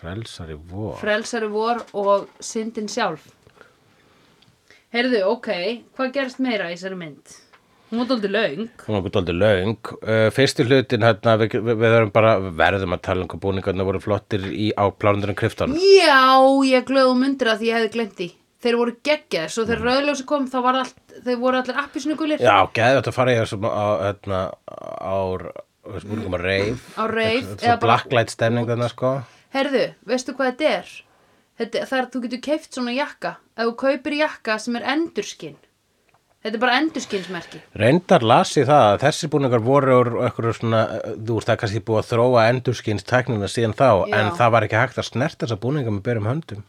Speaker 1: Frelsari vor.
Speaker 2: frelsari vor og syndin sjálf. Heyrðu, ok, hvað gerst meira í þessari mynd? Hún var dóldi löng.
Speaker 1: Hún var okkur daldið löng. Uh, fyrsti hlutin, hérna, við, við við verðum bara, við verðum að tala um hvað búningarna voru flottir í, á plánundurinn kryftan.
Speaker 2: Já, ég glöðum myndir að því ég hefði glemt því. Þeir voru geggjaðir, svo þegar rauðljósi kom þá var allt, þeir voru allir appisnugulir
Speaker 1: Mm. Já, geði þetta að fara í þessum á, hérna, ár, við spurningum að reif.
Speaker 2: á reif
Speaker 1: Svo blacklight stemning þarna, sko.
Speaker 2: Herðu, veistu hvað þetta er? Þetta, það er að þú getur keift svona jakka ef þú kaupir jakka sem er endurskinn. Þetta er bara endurskinsmerki.
Speaker 1: Reyndar las ég það að þessir búningar voru úr einhverju svona, uh, þú veist, það er kannski búið að þróa endurskins tæknina síðan þá,
Speaker 2: Já.
Speaker 1: en það var ekki hægt að snerta þessa búningar með berum höndum.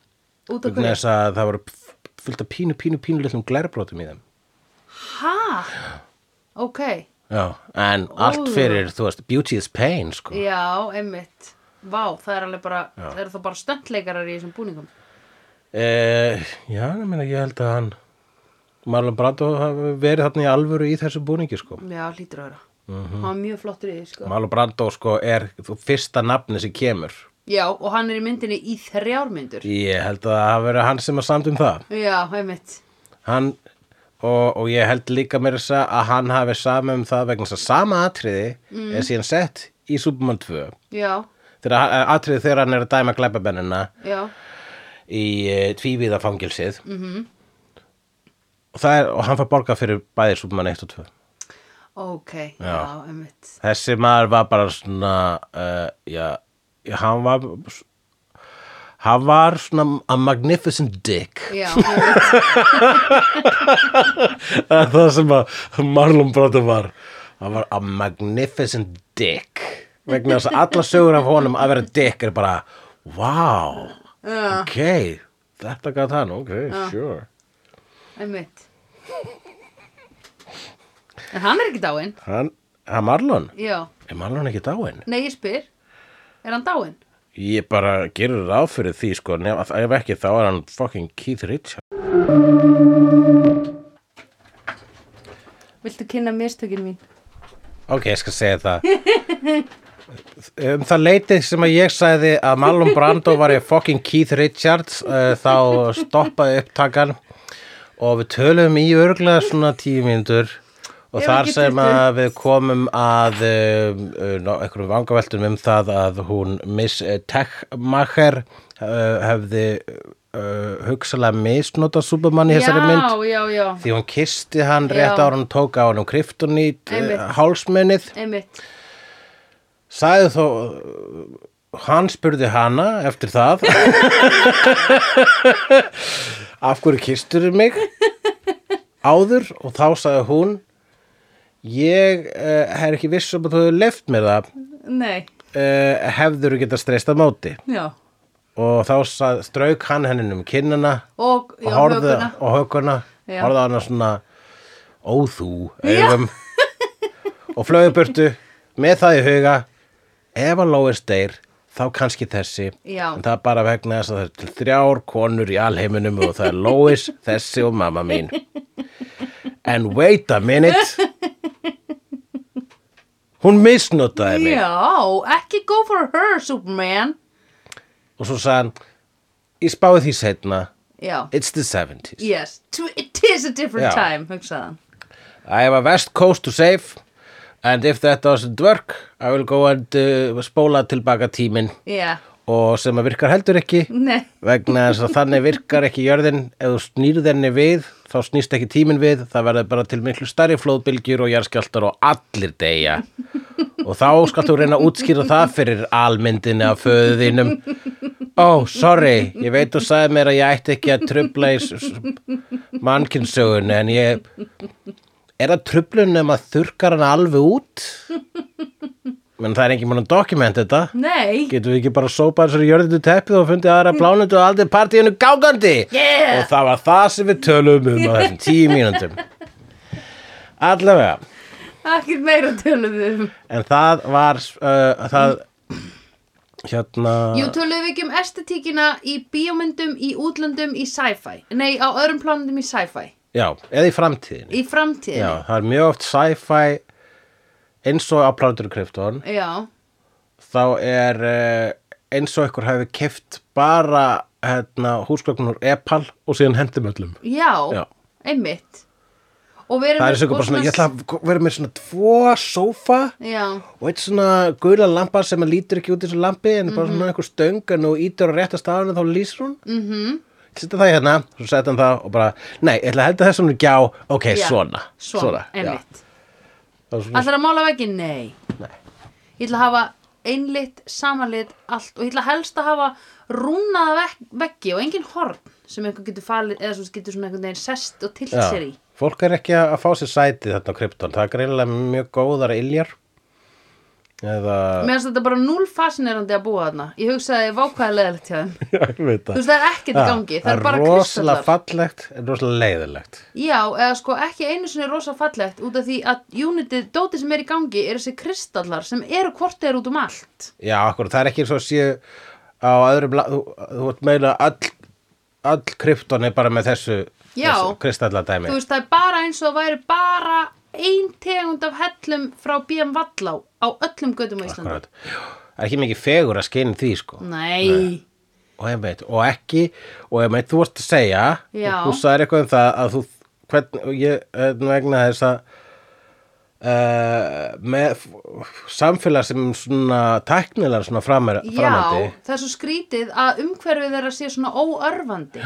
Speaker 2: Út af
Speaker 1: Vegna
Speaker 2: hverju?
Speaker 1: þess að það voru fullt af pínu, pínu, pínu litlum glerbrotum í þeim.
Speaker 2: Hæ? Ok,
Speaker 1: Já, en allt fyrir, þú veist, beauty is pain, sko.
Speaker 2: já, einmitt. vá, það er alveg bara,
Speaker 1: Já.
Speaker 2: það eru þá bara stöndleikarar í þessum búningum.
Speaker 1: Eh, já, ég meina, ég held að hann Marlon Brando hafi verið þarna í alvöru í þessu búningi sko.
Speaker 2: Já, hlýtur að vera.
Speaker 1: Mhm.
Speaker 2: Hann var mjög flottur í því, sko.
Speaker 1: Marlon Brando sko er þú- fyrsta nafni sem kemur
Speaker 2: Já, og hann er í myndinni í þrjármyndur.
Speaker 1: ég held að það hafi verið hann sem að samt um það
Speaker 2: Já, heimitt.
Speaker 1: hann og, og ég held líka mér þess að hann hafi sama um það vegna þess að sama atriði er síðan sett í Superman 2
Speaker 2: Já,
Speaker 1: þegar hann- atriði þegar hann er að dæma glæpabennina
Speaker 2: já,
Speaker 1: í e, tvívíðafangilsið mm -hmm. og, það er, og hann fær borgað fyrir bæði Superman 1 og 2
Speaker 2: ok, já, heimitt.
Speaker 1: þessi maður var bara svona uh, já, já, hann var hann var svona a magnificent dick [LAUGHS]
Speaker 2: Já, heimitt.
Speaker 1: það er [LAUGHS] það sem að Marlon Brando var hann var a magnificent dick vegna þess að alla sögur af honum að vera dick er bara wow,
Speaker 2: Já.
Speaker 1: ok þetta gæt hann, ok, sure
Speaker 2: heimitt. En hann er ekki dáinn.
Speaker 1: hann, hann Marlon
Speaker 2: Já,
Speaker 1: er Marlon ekki dáinn?
Speaker 2: nei, ég spyr. Er hann dáinn?
Speaker 1: ég bara gerur ráð fyrir því sko, nef, ef ekki þá er hann fucking Keith Richards
Speaker 2: Viltu kynna mistökin mín?
Speaker 1: Ok, ég skal segja það Um það leitið sem að ég sagði að Marlon Brando var í fucking Keith Richards uh, þá stoppaði upptakan og við töluðum í örglega svona tíu mínútur og
Speaker 2: Ef
Speaker 1: þar
Speaker 2: ekki
Speaker 1: sem
Speaker 2: 20.
Speaker 1: að við komum að um, uh, ná, einhverjum vangaveltum um það að hún Miss eh, Techmacher uh, hefði uh, hugsalega misnota Superman í þessari mynd
Speaker 2: Já, já, já,
Speaker 1: því hún kisti hann rétt
Speaker 2: Já.
Speaker 1: ára hann tók á hann um kryptonít uh,
Speaker 2: Einmitt.
Speaker 1: hálsmennið
Speaker 2: heimitt.
Speaker 1: sagði þó hann spurði hana eftir það af hverju kisturðu mig áður og þá sagði hún ég uh, er ekki viss um að þú hefur left mér það
Speaker 2: Nei,
Speaker 1: uh, hefður geta streysta móti
Speaker 2: já.
Speaker 1: og þá sað, strauk hann hennin um kinnina
Speaker 2: Og, já,
Speaker 1: og horfði
Speaker 2: hökuna.
Speaker 1: og hökuna
Speaker 2: Já.
Speaker 1: horfði á hana svona óþú augum og flögu burtu með það í huga ef að Lóis deyr þá kannski þessi
Speaker 2: Já.
Speaker 1: en það er bara vegna þess að það er til þrjár konur í alheiminum og það er
Speaker 2: [LAUGHS]
Speaker 1: Lóis, þessi og mamma mín en wait a minute hún misnotaði mig
Speaker 2: Já, ekki go for her, Superman.
Speaker 1: og svo sagði hann ég spáði því setna
Speaker 2: Já,
Speaker 1: it's the 70s
Speaker 2: yes, Tw- it is a different
Speaker 1: Já.
Speaker 2: time, hugsaðan.
Speaker 1: I have a west coast to save and if that doesn't work I will go and uh, spóla tilbaka tíminn
Speaker 2: Já,
Speaker 1: og sem að virkar heldur ekki
Speaker 2: nei,
Speaker 1: vegna þess að þannig virkar ekki jörðin ef þú snýrð henni við þá snýst ekki tíminn við það verður bara til miklu starri flóðbylgjur og jarðskjaldar og allir deyja og þá skalt þú reyna að útskýra það fyrir almyndinni af föðu þínum ó, sorry, ég veit þú sagði mér að ég ætti ekki að trubla í s- s- mannkynssögunni en ég er að trublunum að þurkar hann alveg út menn það er ekki mann að dokumenta þetta
Speaker 2: nei.
Speaker 1: Getum við ekki bara sópa þessari jörðinu teppið og fundið aðra plánundu og aldrei partíinu gágandi?
Speaker 2: Yeah.
Speaker 1: Og það var það sem við tölum um á þessum tíu mínúndum. Allavega,
Speaker 2: Ekkert meira tölum við um.
Speaker 1: en það var, uh, það, hérna,
Speaker 2: Jú, tölum við ekki um estetíkina í bíómyndum, í útlöndum, í sci-fi. Nei, á öðrum plánundum í sci-fi.
Speaker 1: já, eða í framtíðinni.
Speaker 2: Í framtíðinni.
Speaker 1: Já, það er mjög oft sci-fi eins og á Plátur Krypton.
Speaker 2: Já,
Speaker 1: Þá er uh, eins og ykkur hefur keft bara, hérna, húsgögnur epal og síðan hendum öllum.
Speaker 2: já,
Speaker 1: Já.
Speaker 2: einmitt. Og við erum
Speaker 1: Það er
Speaker 2: með-
Speaker 1: eins og
Speaker 2: og
Speaker 1: bara svona, ég ætla að vera með svona tvo sófa
Speaker 2: Já,
Speaker 1: og eitt svona gula lampa sem að lítur ekki út í þessu lampi en bara
Speaker 2: Mhm.
Speaker 1: svona einhver stöngan og ítur á rétta stafan og þá lýsir hún. Mm
Speaker 2: Mhm.
Speaker 1: -hmm. Setta það hérna, svo setja hann það og bara, nei, ég ætla að henda þessum gjá, ok,
Speaker 2: já.
Speaker 1: svona.
Speaker 2: Svona,
Speaker 1: já.
Speaker 2: einmitt.
Speaker 1: Það er svona,
Speaker 2: Ætlar að mála veginn? Nei.
Speaker 1: Nei.
Speaker 2: Ég ætla að hafa einlitt, samanlitt, allt og ég ætla helst að hafa rúnaða vek veggi og engin horn sem einhver getur falið eða svo getur svona einhvern veginn sest og tilt sér í.
Speaker 1: já. Fólk er ekki að fá sér sæti þetta á krypton, það er greinilega mjög góðara iljar eða
Speaker 2: Mér finnst þetta bara núl fascinerandi að búa þarna. Ég hugsaði vákvæði leðilegt hjá þeim.
Speaker 1: Já, ég veit
Speaker 2: Þú veist, það er ekkert í gangi. Það er bara
Speaker 1: rosalega
Speaker 2: kristallar.
Speaker 1: fallegt, en rosalega leiðilegt
Speaker 2: Já, eða sko ekki einu sinni rosa fallegt út af því að unitið, dótið sem er í gangi er þessi kristallar sem eru hvort þeir út um allt.
Speaker 1: Já, akkur, það er ekki eins og séu á öðrum, la- þú, þú vart meina all, all krypton er bara með þessu,
Speaker 2: Já.
Speaker 1: þessu kristalladæmi
Speaker 2: Þú veist, það er bara eins og það væri bara ein tegund af hellum frá BM Vallá á öllum götum á Íslandi.
Speaker 1: Akkurat. Það er ekki mikið fegur að skinn því sko
Speaker 2: Nei.
Speaker 1: og, ég veit, og ekki, og ég veit, þú varst að segja
Speaker 2: Já.
Speaker 1: og þú sagðir eitthvað um það að þú, hvern, og ég, eh, nú vegna þess að Uh, með f- samfélag sem svona tæknilega svona framar, framandi
Speaker 2: Já, það er svo skrítið að umhverfið þeirra sé svona óörfandi.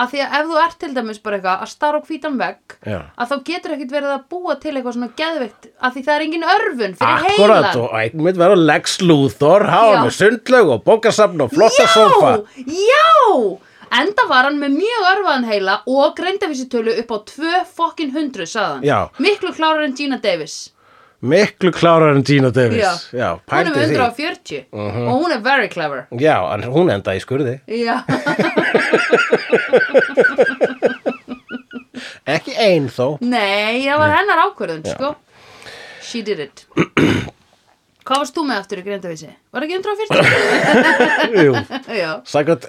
Speaker 2: Af því að ef þú ert til dæmis bara eitthvað að starra á hvítan vegg,
Speaker 1: Já.
Speaker 2: að þá getur ekkit verið að búa til eitthvað svona geðveikt, af því það er engin örfun fyrir heilan.
Speaker 1: Akkurat og einn mynd verður Lex Luthor
Speaker 2: Já.
Speaker 1: hafa með sundlaug og bókasafn og flotta sófa
Speaker 2: Já, enda var hann með mjög örfaðan heila og greindafísitölu upp á 2 fokkin 100, sagðan.
Speaker 1: Já.
Speaker 2: Miklu klárar en Gina Davis.
Speaker 1: miklu klárar en Gina Davis
Speaker 2: Já, hún er
Speaker 1: pældi
Speaker 2: með
Speaker 1: því Uh-huh.
Speaker 2: 140 og hún er very clever.
Speaker 1: Já, en hún endaði í skurði
Speaker 2: Já,
Speaker 1: ekki ein
Speaker 2: [LAUGHS]
Speaker 1: þó
Speaker 2: nei, það var hennar ákvörðun, sko. She did
Speaker 1: [CLEARS THROAT]
Speaker 2: it. Hvað varst þú með aftur í greindavísi? Var ekki 140?
Speaker 1: [LAUGHS] Jú,
Speaker 2: Já.
Speaker 1: Sækvæmt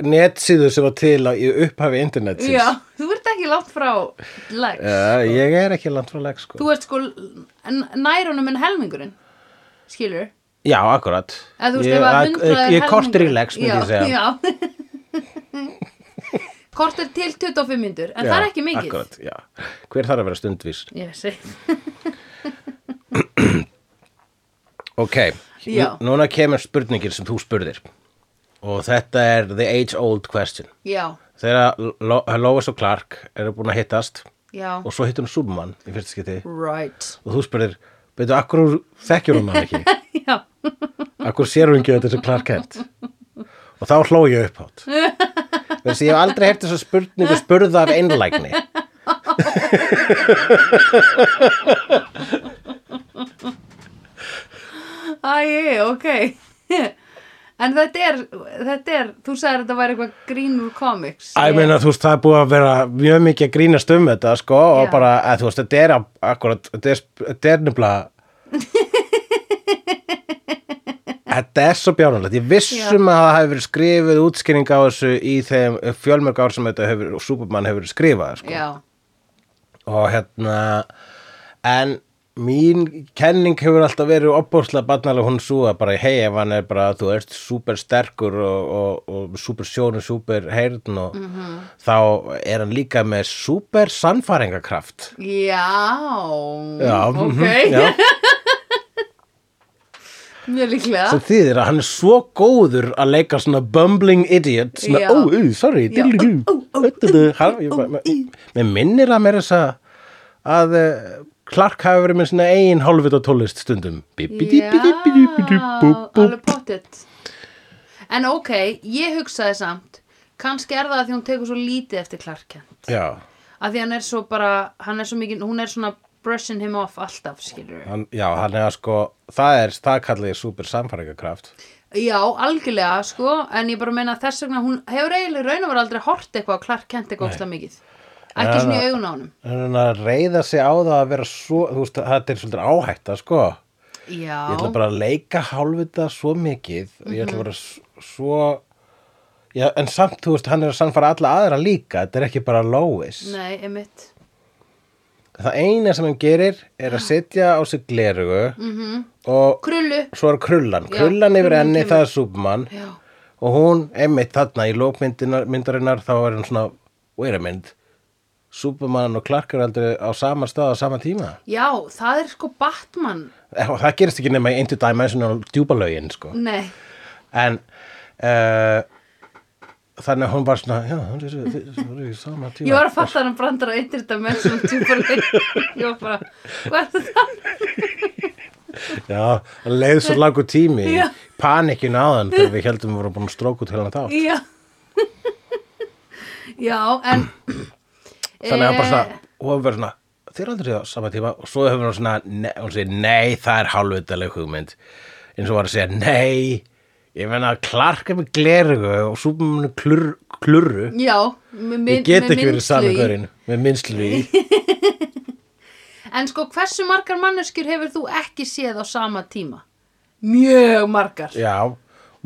Speaker 1: netsíðu sem var til á, í upphafi internetsins
Speaker 2: Já, þú ert ekki langt frá Lex.
Speaker 1: Já, ég er ekki langt frá Lex sko.
Speaker 2: Þú ert sko nærunum en helmingurinn, skilur?
Speaker 1: Já, akkurat
Speaker 2: Eða þú veist, ef
Speaker 1: Ég,
Speaker 2: að
Speaker 1: að-
Speaker 2: hundrað er
Speaker 1: ég er kortur í
Speaker 2: helmingur-
Speaker 1: Lex myndi ég segja
Speaker 2: Já, já. [LAUGHS] Kortur til 25 myndur, en
Speaker 1: Já,
Speaker 2: það er ekki mikið.
Speaker 1: akkurat, já. Hver þarf að vera stundvís
Speaker 2: Ég segi.
Speaker 1: Ok,
Speaker 2: Já.
Speaker 1: nú- núna kemur spurningin sem þú spurðir og þetta er the age old question
Speaker 2: Já,
Speaker 1: þegar Lo Lois og Clark eru búin að hittast
Speaker 2: já.
Speaker 1: og svo hittir hún Superman í fyrsta skipti
Speaker 2: Right. [LAUGHS]
Speaker 1: og þú spurðir, veitu, akkur þekkjur hún hann ekki?
Speaker 2: Já,
Speaker 1: Akkur sér hún ekki þetta sem Clark Kent? Og þá hló ég upp átt. Þess að ég hef aldrei hefði þessa spurningu spurða af einlægni.
Speaker 2: æi, ok. [LAUGHS] En þetta er, þetta er, þú sagðir að þetta væri eitthvað grín úr comics.
Speaker 1: Æ, ég meina, þú veist, það er búið að vera mjög mikið að grínast um þetta, sko, og
Speaker 2: Já.
Speaker 1: bara, að, þú veist, þetta er akkurat, þetta er, þetta er
Speaker 2: [LAUGHS]
Speaker 1: nefnilega Þetta er svo bjánulegt, ég
Speaker 2: Já.
Speaker 1: vissum að það hefur verið skrifið útskýring á þessu í þeim eh, fjölmörg ár sem þetta hefur, Superman hefur verið skrifað, sko,
Speaker 2: Já,
Speaker 1: og hérna, en mín kenning hefur alltaf verið opbórslega barnalega hún svo að bara, hei, ef hann er bara, þú ert súper sterkur og, og, og súper sjónu, súper heyrn og þá er hann líka með súper sannfæringakraft.
Speaker 2: já,
Speaker 1: Já,
Speaker 2: [LAUGHS] ok,
Speaker 1: mhm, já,
Speaker 2: mjög líklega.
Speaker 1: sem þýðir að hann er svo góður að leika svona bumbling idiot, svona,
Speaker 2: Já.
Speaker 1: ó, ó, sorry,
Speaker 2: Já,
Speaker 1: dillu,
Speaker 2: ó, ó, ó,
Speaker 1: hann, ég, bara- mér minnir að mér þess að, að eh, Clark hafi verið með svona ein hálfvit og tólest stundum.
Speaker 2: Já, alveg pottitt En ok, ég hugsaði samt kannski er það að því hún tekur svo lítið eftir Clark Kent
Speaker 1: Já,
Speaker 2: að því hann er svo bara, hann er svo mikið hún er svona brushing him off alltaf skilur
Speaker 1: hann, já, hann er að sko það er, það kallið er super samfæringakraft
Speaker 2: Já, algjörlega sko en ég bara meina að þess vegna hún hefur eiginlega raun og var aldrei hort eitthvað á Clark Kent eitthvað ofta mikið ekki
Speaker 1: Já,
Speaker 2: svona í
Speaker 1: það-
Speaker 2: augun á honum
Speaker 1: hann er að reyða sig á það að vera svo þú veist, þetta er svolítið áhætta sko ég ætla
Speaker 2: Já,
Speaker 1: bara að leika hálfvita svo mikið
Speaker 2: Mhm.
Speaker 1: ég ætla bara s- svo já, en samt, þú veist, hann er að samfæra alla aðra líka, þetta er ekki bara Lois
Speaker 2: nei, emitt
Speaker 1: það eina sem hann gerir er að
Speaker 2: Ah.
Speaker 1: setja á sig glerugu -hmm. og
Speaker 2: Krullu,
Speaker 1: svo er krullan
Speaker 2: Mhm. Já,
Speaker 1: krullan yfir
Speaker 2: krullan
Speaker 1: enni,
Speaker 2: kemur.
Speaker 1: það er Superman
Speaker 2: já,
Speaker 1: og hún, einmitt þarna í lókmyndarinnar þá er hún svona, wait a minute Superman og Clark eru aldrei á sama stað á sama tíma
Speaker 2: já, það er sko Batman
Speaker 1: Eh, og það gerist ekki nema í interdimensional djúbalögin sko.
Speaker 2: Nei,
Speaker 1: en uh, þannig að hún var svona já, það eru- það eru í sama tíma
Speaker 2: Ég var að fatta hann brandar á interdimensional tjúparleik [LAUGHS] Ég var bara, hvað er þetta?
Speaker 1: já, það leið svo langur tími
Speaker 2: Já.
Speaker 1: panikinu áðan þegar við heldum við vorum búin að stróku til hann þá
Speaker 2: Já [LAUGHS] Já, en
Speaker 1: þannig að hann bara
Speaker 2: Eh,
Speaker 1: svona, hún var svona þeir aldrei á sama tíma og svo hefur hún svona, ne, hún segir nei, það er hálfutaleg hugmynd eins og var að segja nei ég menna að Clark er með glerugu og Superman er klur, klurru
Speaker 2: Já, með,
Speaker 1: ég
Speaker 2: mynd-
Speaker 1: get
Speaker 2: með
Speaker 1: ekki verið
Speaker 2: minnslu
Speaker 1: sami
Speaker 2: í.
Speaker 1: görinn með minnslu í
Speaker 2: En sko, hversu margar manneskjur hefur þú ekki séð á sama tíma? Mjög margar.
Speaker 1: já, og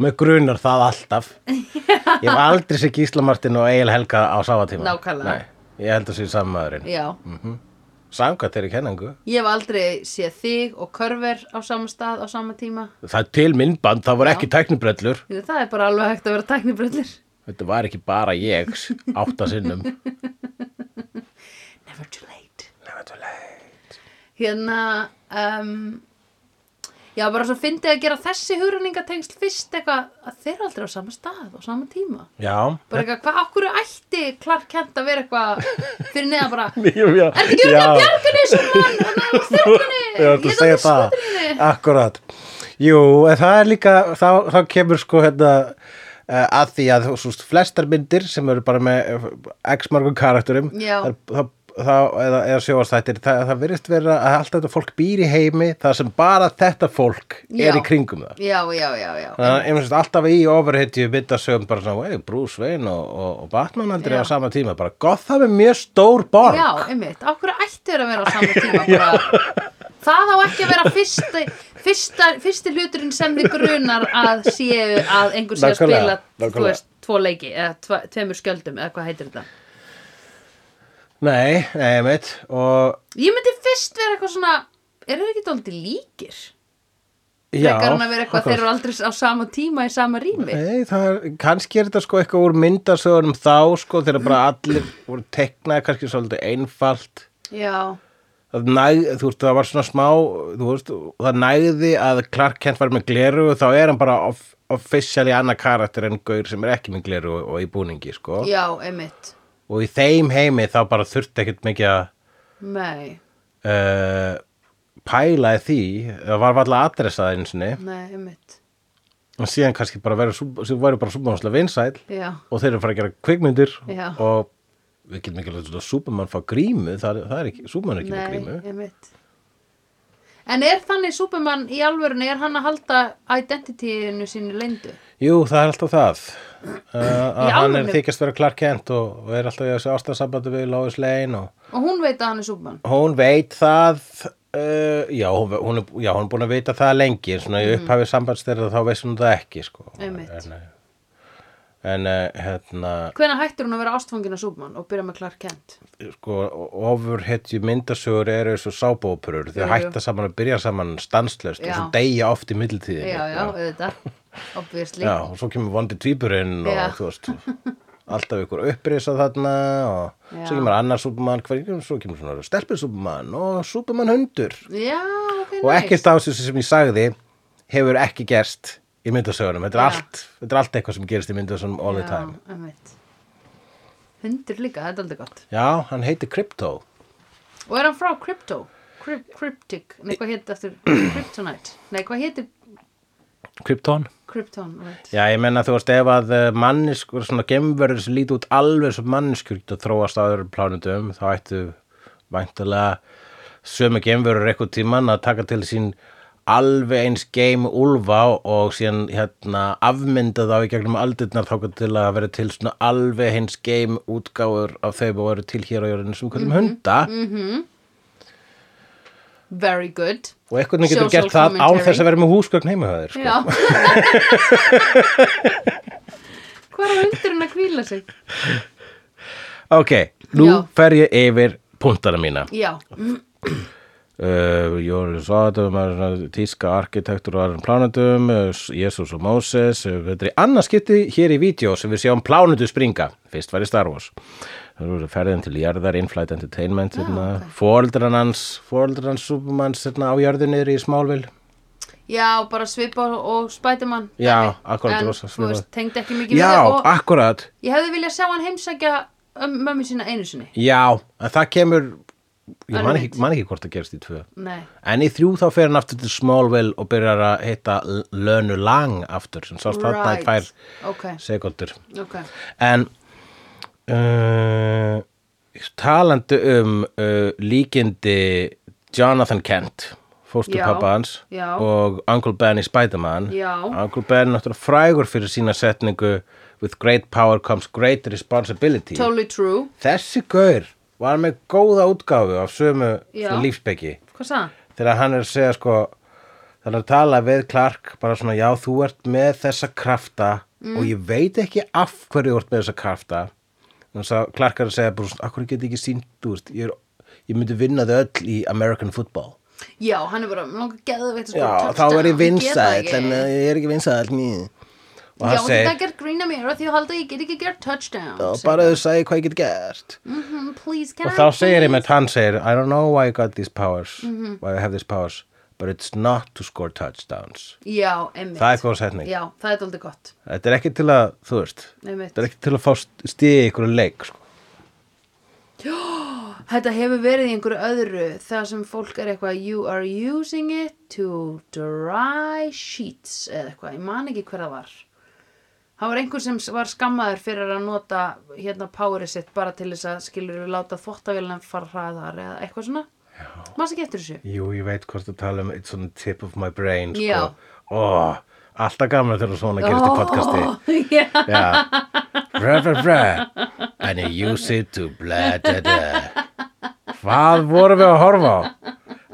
Speaker 1: með grunar það
Speaker 2: [LAUGHS]
Speaker 1: alltaf ég hef aldrei sér Gísla Martin og Egil Helga á sama tíma
Speaker 2: Nákvæmlega.
Speaker 1: Nei, ég held að sé saman maðurinn
Speaker 2: Já.
Speaker 1: samkvæmt þeirri kenningu
Speaker 2: Ég hef aldrei séð þig og körver á sama stað á sama tíma.
Speaker 1: það er til minnband, það voru
Speaker 2: Já.
Speaker 1: ekki tæknibrellur
Speaker 2: Því Það er bara alveg hægt að vera tæknibröllir.
Speaker 1: þetta var ekki bara ég átta
Speaker 2: [LAUGHS]
Speaker 1: sinnum
Speaker 2: Never too late.
Speaker 1: Never too late.
Speaker 2: Hérna, um, já, bara svo fyndið að gera þessi hugrenningatengsl fyrst eitthvað að þeir eru aldrei á sama stað á sama tíma.
Speaker 1: Já,
Speaker 2: Bara eitthvað, hvað, okkur ætti Clark Kent að vera eitthvað fyrir neða bara,
Speaker 1: Nýjum, já.
Speaker 2: er þetta ekki að bjarga þessu mann, hann er á þörfinni,
Speaker 1: Ég ætla að segja það.
Speaker 2: skotinni.
Speaker 1: Akkurat. Jú, en það er líka, þá, þá kemur sko hérna eh, að því að þú veist, flestar myndir sem eru bara með eh, x margum karakterum,
Speaker 2: Já.
Speaker 1: þar- þá, þá, eða, eða sjóastættir, það, það virðist vera að allt þetta fólk býr í heimi þar sem bara þetta fólk
Speaker 2: Já.
Speaker 1: er í kringum það.
Speaker 2: Já, já, já, já.
Speaker 1: Þannig að einhvern veginn alltaf í overhitju myndasögum bara svona, hey, Bruce Wayne og, og, og Batman aldrei
Speaker 2: Já.
Speaker 1: á sama tíma, bara gott það með mjög stór borg.
Speaker 2: Já, einmitt, okkur ætti þeir að vera á sama tíma bara, það á ekki að vera fyrsti, fyrsta, fyrsti hluturinn sem þið grunar að séu að einhver sé að
Speaker 1: Nákvæmlega,
Speaker 2: spila, þú
Speaker 1: nákvæmlega.
Speaker 2: veist, tvo leiki eða tve, tveimur skjöldum eða hvað heitir þetta.
Speaker 1: Nei, nei, mitt og
Speaker 2: Ég myndi fyrst vera eitthvað svona, eru þeir ekki dálítið líkir?
Speaker 1: já,
Speaker 2: Frekar hann að vera eitthvað,
Speaker 1: akkurat.
Speaker 2: þeir eru aldrei á sama tíma í sama rými.
Speaker 1: Nei, það er, kannski er þetta sko eitthvað úr myndasögunum þá sko þegar bara allir voru teknaði kannski svolítið einfalt
Speaker 2: Já,
Speaker 1: það, næg, þú veist, það var svona smá þú veist, og það nægði að Clark Kent var með gleru og þá er hann bara off, officially annað karakter en gaur sem er ekki með gleru og, og í búningi sko
Speaker 2: já, einmitt.
Speaker 1: og í þeim heimi þá bara þurfti ekkert mikið að
Speaker 2: Nei,
Speaker 1: uh, pæla í því það var varla adressað einu sinni
Speaker 2: nei, einmitt.
Speaker 1: og síðan kannski bara verið, sú- sem væri bara súbmánslega vinsæl
Speaker 2: Já,
Speaker 1: og þeir eru að fara að gera kvikmyndir
Speaker 2: Já.
Speaker 1: og við getum ekki að Superman fá grímu, það, er- það er ekki Superman er ekki með
Speaker 2: nei,
Speaker 1: grímu
Speaker 2: einmitt. En er þannig Superman í alvörunni, er hann að halda identityinu sínu leyndu?
Speaker 1: Jú, það er alltaf það uh, að
Speaker 2: Í
Speaker 1: hann er
Speaker 2: alvöru?
Speaker 1: þykjast vera Clark Kent og, og er alltaf í þessu ástæðsambandi við Lois Lane og
Speaker 2: Og hún veit að hann er Superman.
Speaker 1: hún veit það uh, já, hún, hún er, já, hún er búin að vita það lengi svona
Speaker 2: Mhm.
Speaker 1: í upphafi sambands þeirra þá veist hún það ekki sko. en,
Speaker 2: Einmitt.
Speaker 1: eh, en eh, hérna
Speaker 2: Hvenær hættir hún að vera ástfangin af Superman og byrja með Clark Kent?
Speaker 1: sko, ofurhetju myndasögur eru eins og sábóperur, þau
Speaker 2: Jú, jú.
Speaker 1: hætta saman og byrja saman stanslöst
Speaker 2: Já.
Speaker 1: og svo deyja oft í
Speaker 2: Já,
Speaker 1: millitíðinni
Speaker 2: já,
Speaker 1: sko.
Speaker 2: auðvitað, obviously.
Speaker 1: já, og svo kemur vondi tvíburinn og
Speaker 2: Já.
Speaker 1: þú veist alltaf ykkur upprisa þarna og
Speaker 2: Já.
Speaker 1: svo kemur annar súpumann hverjum, svo kemur svona stelpur súpumann og súpumann hundur
Speaker 2: Já, ok,
Speaker 1: og
Speaker 2: nice.
Speaker 1: ekkert af þessu sem ég sagði hefur ekki gerst í myndasögunum þetta er,
Speaker 2: Já.
Speaker 1: allt, þetta er allt eitthvað sem gerist í myndasögunum all the time
Speaker 2: Já, einmitt. Hundur líka, þetta er aldrei gott.
Speaker 1: já, hann heitir Crypto
Speaker 2: Og er hann frá Crypto? Cryp cryptic? Nei, hvað hétt eftir Kryptonite? Nei, hvað héttir
Speaker 1: Krypton
Speaker 2: Krypton? Right.
Speaker 1: Já, ég menna þú veist ef að eh, manneskur, svona gemverður sem líti út alveg sem manneskur geta þróast á öðrum plánutum, þá ættu væntalega sömu gemverður eitthvað tíman að taka til sín alveg eins geim úlfa og síðan hérna afmynda þá í gegnum aldirnar þá til að vera til svona alveg eins geim útgáfur af þeim og eru til hér á jörðinu sem
Speaker 2: Mhm,
Speaker 1: kvöldum hunda
Speaker 2: Very good.
Speaker 1: og eitthvað getur
Speaker 2: Social
Speaker 1: gert það án
Speaker 2: commentary.
Speaker 1: þess að vera með húsgögn heima hjá þér sko.
Speaker 2: Já. Hvað er hundurinn að hvíla sig?
Speaker 1: Ok, nú
Speaker 2: Já.
Speaker 1: fer ég yfir punktana mína
Speaker 2: Já,
Speaker 1: Uh, Jóri Sváðum er svona tíska arkitektur og aðrum plánutum Jésús eh, og Móses uh, þetta er í annað skipti hér í vídeo sem við sjáum plánutu springa fyrst var í Star Wars það eru ferðin til jarðar, Inflight Entertainment hérna, okay. fóreldran hans fóreldran hans Supermans hérna, á jörðu niður í Smálvil
Speaker 2: já, bara svipa og Spiderman.
Speaker 1: Já, akkurat,
Speaker 2: En,
Speaker 1: rosa
Speaker 2: þú
Speaker 1: svipað.
Speaker 2: veist, tengd ekki mikið við
Speaker 1: Já,
Speaker 2: það og
Speaker 1: akkurat
Speaker 2: ég hefði viljað sjá hann heimsækja um, mömmu sína einu sinni.
Speaker 1: Já, en það kemur ég
Speaker 2: Önnur
Speaker 1: man ekki,
Speaker 2: mynd.
Speaker 1: man ekki hvort það gerst í tvö
Speaker 2: Nei,
Speaker 1: En í þrjú þá fer hann aftur til Smallville og byrjar að hitta Lönu Lang aftur sem sást þarna í tvær
Speaker 2: Ok,
Speaker 1: sekundur.
Speaker 2: ok.
Speaker 1: En uh, talandi um uh, líkindi Jonathan Kent fósturpappa
Speaker 2: Já,
Speaker 1: hans
Speaker 2: já.
Speaker 1: og Uncle Ben í Spider-Man
Speaker 2: Já.
Speaker 1: Uncle Ben er náttúrulega frægur fyrir sína setningu with great power comes great responsibility
Speaker 2: Totally true.
Speaker 1: þessi gaur var með góða útgáfu af sömu
Speaker 2: Já.
Speaker 1: lífsbeki
Speaker 2: Hvað sagði? hann?
Speaker 1: þegar hann er að segja sko þannig að tala við Clark bara svona já þú ert með þessa krafta og ég veit ekki af hverju þú ert með þessa krafta þannig að Clark er að segja bara svona akkur get ég ekki sínt úr ég, er, ég myndi vinna þau öll í American football
Speaker 2: Já, hann er bara, mér langar geðveitt að skora
Speaker 1: já þá
Speaker 2: touchdown,
Speaker 1: er ég
Speaker 2: get það
Speaker 1: vinsæll
Speaker 2: ekki.
Speaker 1: en eh, ég er ekki vinsæll mjög og
Speaker 2: Já,
Speaker 1: hann
Speaker 2: þú það
Speaker 1: segir
Speaker 2: gert grína mér og því að halda að ég get ekki gert touchdown.
Speaker 1: "Já, bara þau sagði hvað ég get gert
Speaker 2: Mhm, please, can
Speaker 1: og
Speaker 2: I
Speaker 1: þá segir
Speaker 2: please?
Speaker 1: einmitt hann segir I don't know why I got these powers
Speaker 2: Mhm.
Speaker 1: why I have these powers but it's not to score touchdowns
Speaker 2: Já, einmitt.
Speaker 1: það er góð setning
Speaker 2: Já, það er doldið gott.
Speaker 1: Þetta er ekki til að, þú veist,
Speaker 2: Einmitt.
Speaker 1: þetta er ekki til að fá stíði ykkur leik, sko.
Speaker 2: Þetta hefur verið í einhverju öðru það sem fólk er eitthvað you are using it to dry sheets eða eitthvað, ég man ekki hver það var Það var einhver sem var skammaður fyrir að nota hérna powerið sitt bara til þess að skilur við láta þvóttavélina fara hraðar eða eitthvað svona Mast ekki eftir þessu
Speaker 1: Jú, ég veit hvort þú tala um, it's on the tip of my brain, sko.
Speaker 2: Já.
Speaker 1: Ó, alltaf gamla þegar svona gerist í
Speaker 2: [LAUGHS]
Speaker 1: podcasti.
Speaker 2: Já,
Speaker 1: Já. Bra, bra, bra. And you use it to bla, da, da. Hvað vorum við að horfa á?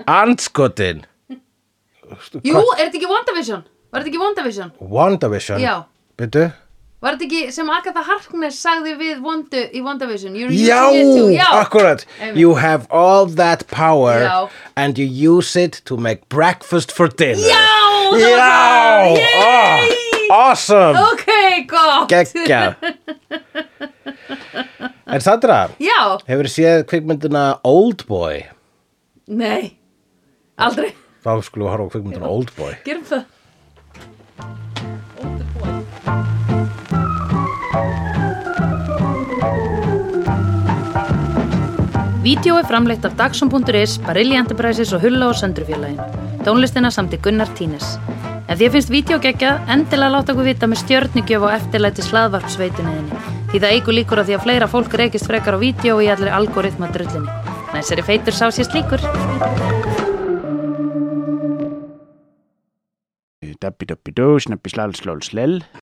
Speaker 1: Andskotin.
Speaker 2: Jú, er þetta ekki WandaVision? Var þetta ekki WandaVision?
Speaker 1: WandaVision.
Speaker 2: Já.
Speaker 1: Byttu?
Speaker 2: Var þetta ekki sem Agatha Harkness sagði við Wanda, í WandaVision? You're using
Speaker 1: Já,
Speaker 2: it to, já,
Speaker 1: akkurat
Speaker 2: Einmitt.
Speaker 1: You have all that power
Speaker 2: Já.
Speaker 1: and you use it to make breakfast for dinner
Speaker 2: Já, það var
Speaker 1: Já,
Speaker 2: það. Yay!
Speaker 1: oh, Awesome okay.
Speaker 2: Ok, gott
Speaker 1: En Sandra,
Speaker 2: Já,
Speaker 1: hefur séð kvikmyndina Oldboy
Speaker 2: nei Aldrei,
Speaker 1: Þá skulum við horfa á kvikmyndina Oldboy
Speaker 2: gerum það Old boy. Vídeó er framleitt af Dagsum.is, Barilli Enterprises og Hulla og Söndrufjörlægin. Tónlistina samti Gunnar Tínes. Ef því finnst vídeo geggja, endilega láta okkur vita með stjörnigjöf og eftirlæti slaðvarpsveituninni. Því það eigur líkur að því að fleira fólk reykist frekar á vídeo og í allri algoritma drullinni. Næsari feitur sá sér slíkur.
Speaker 3: Dabbi dabbi dó, snabbi slal slal slel.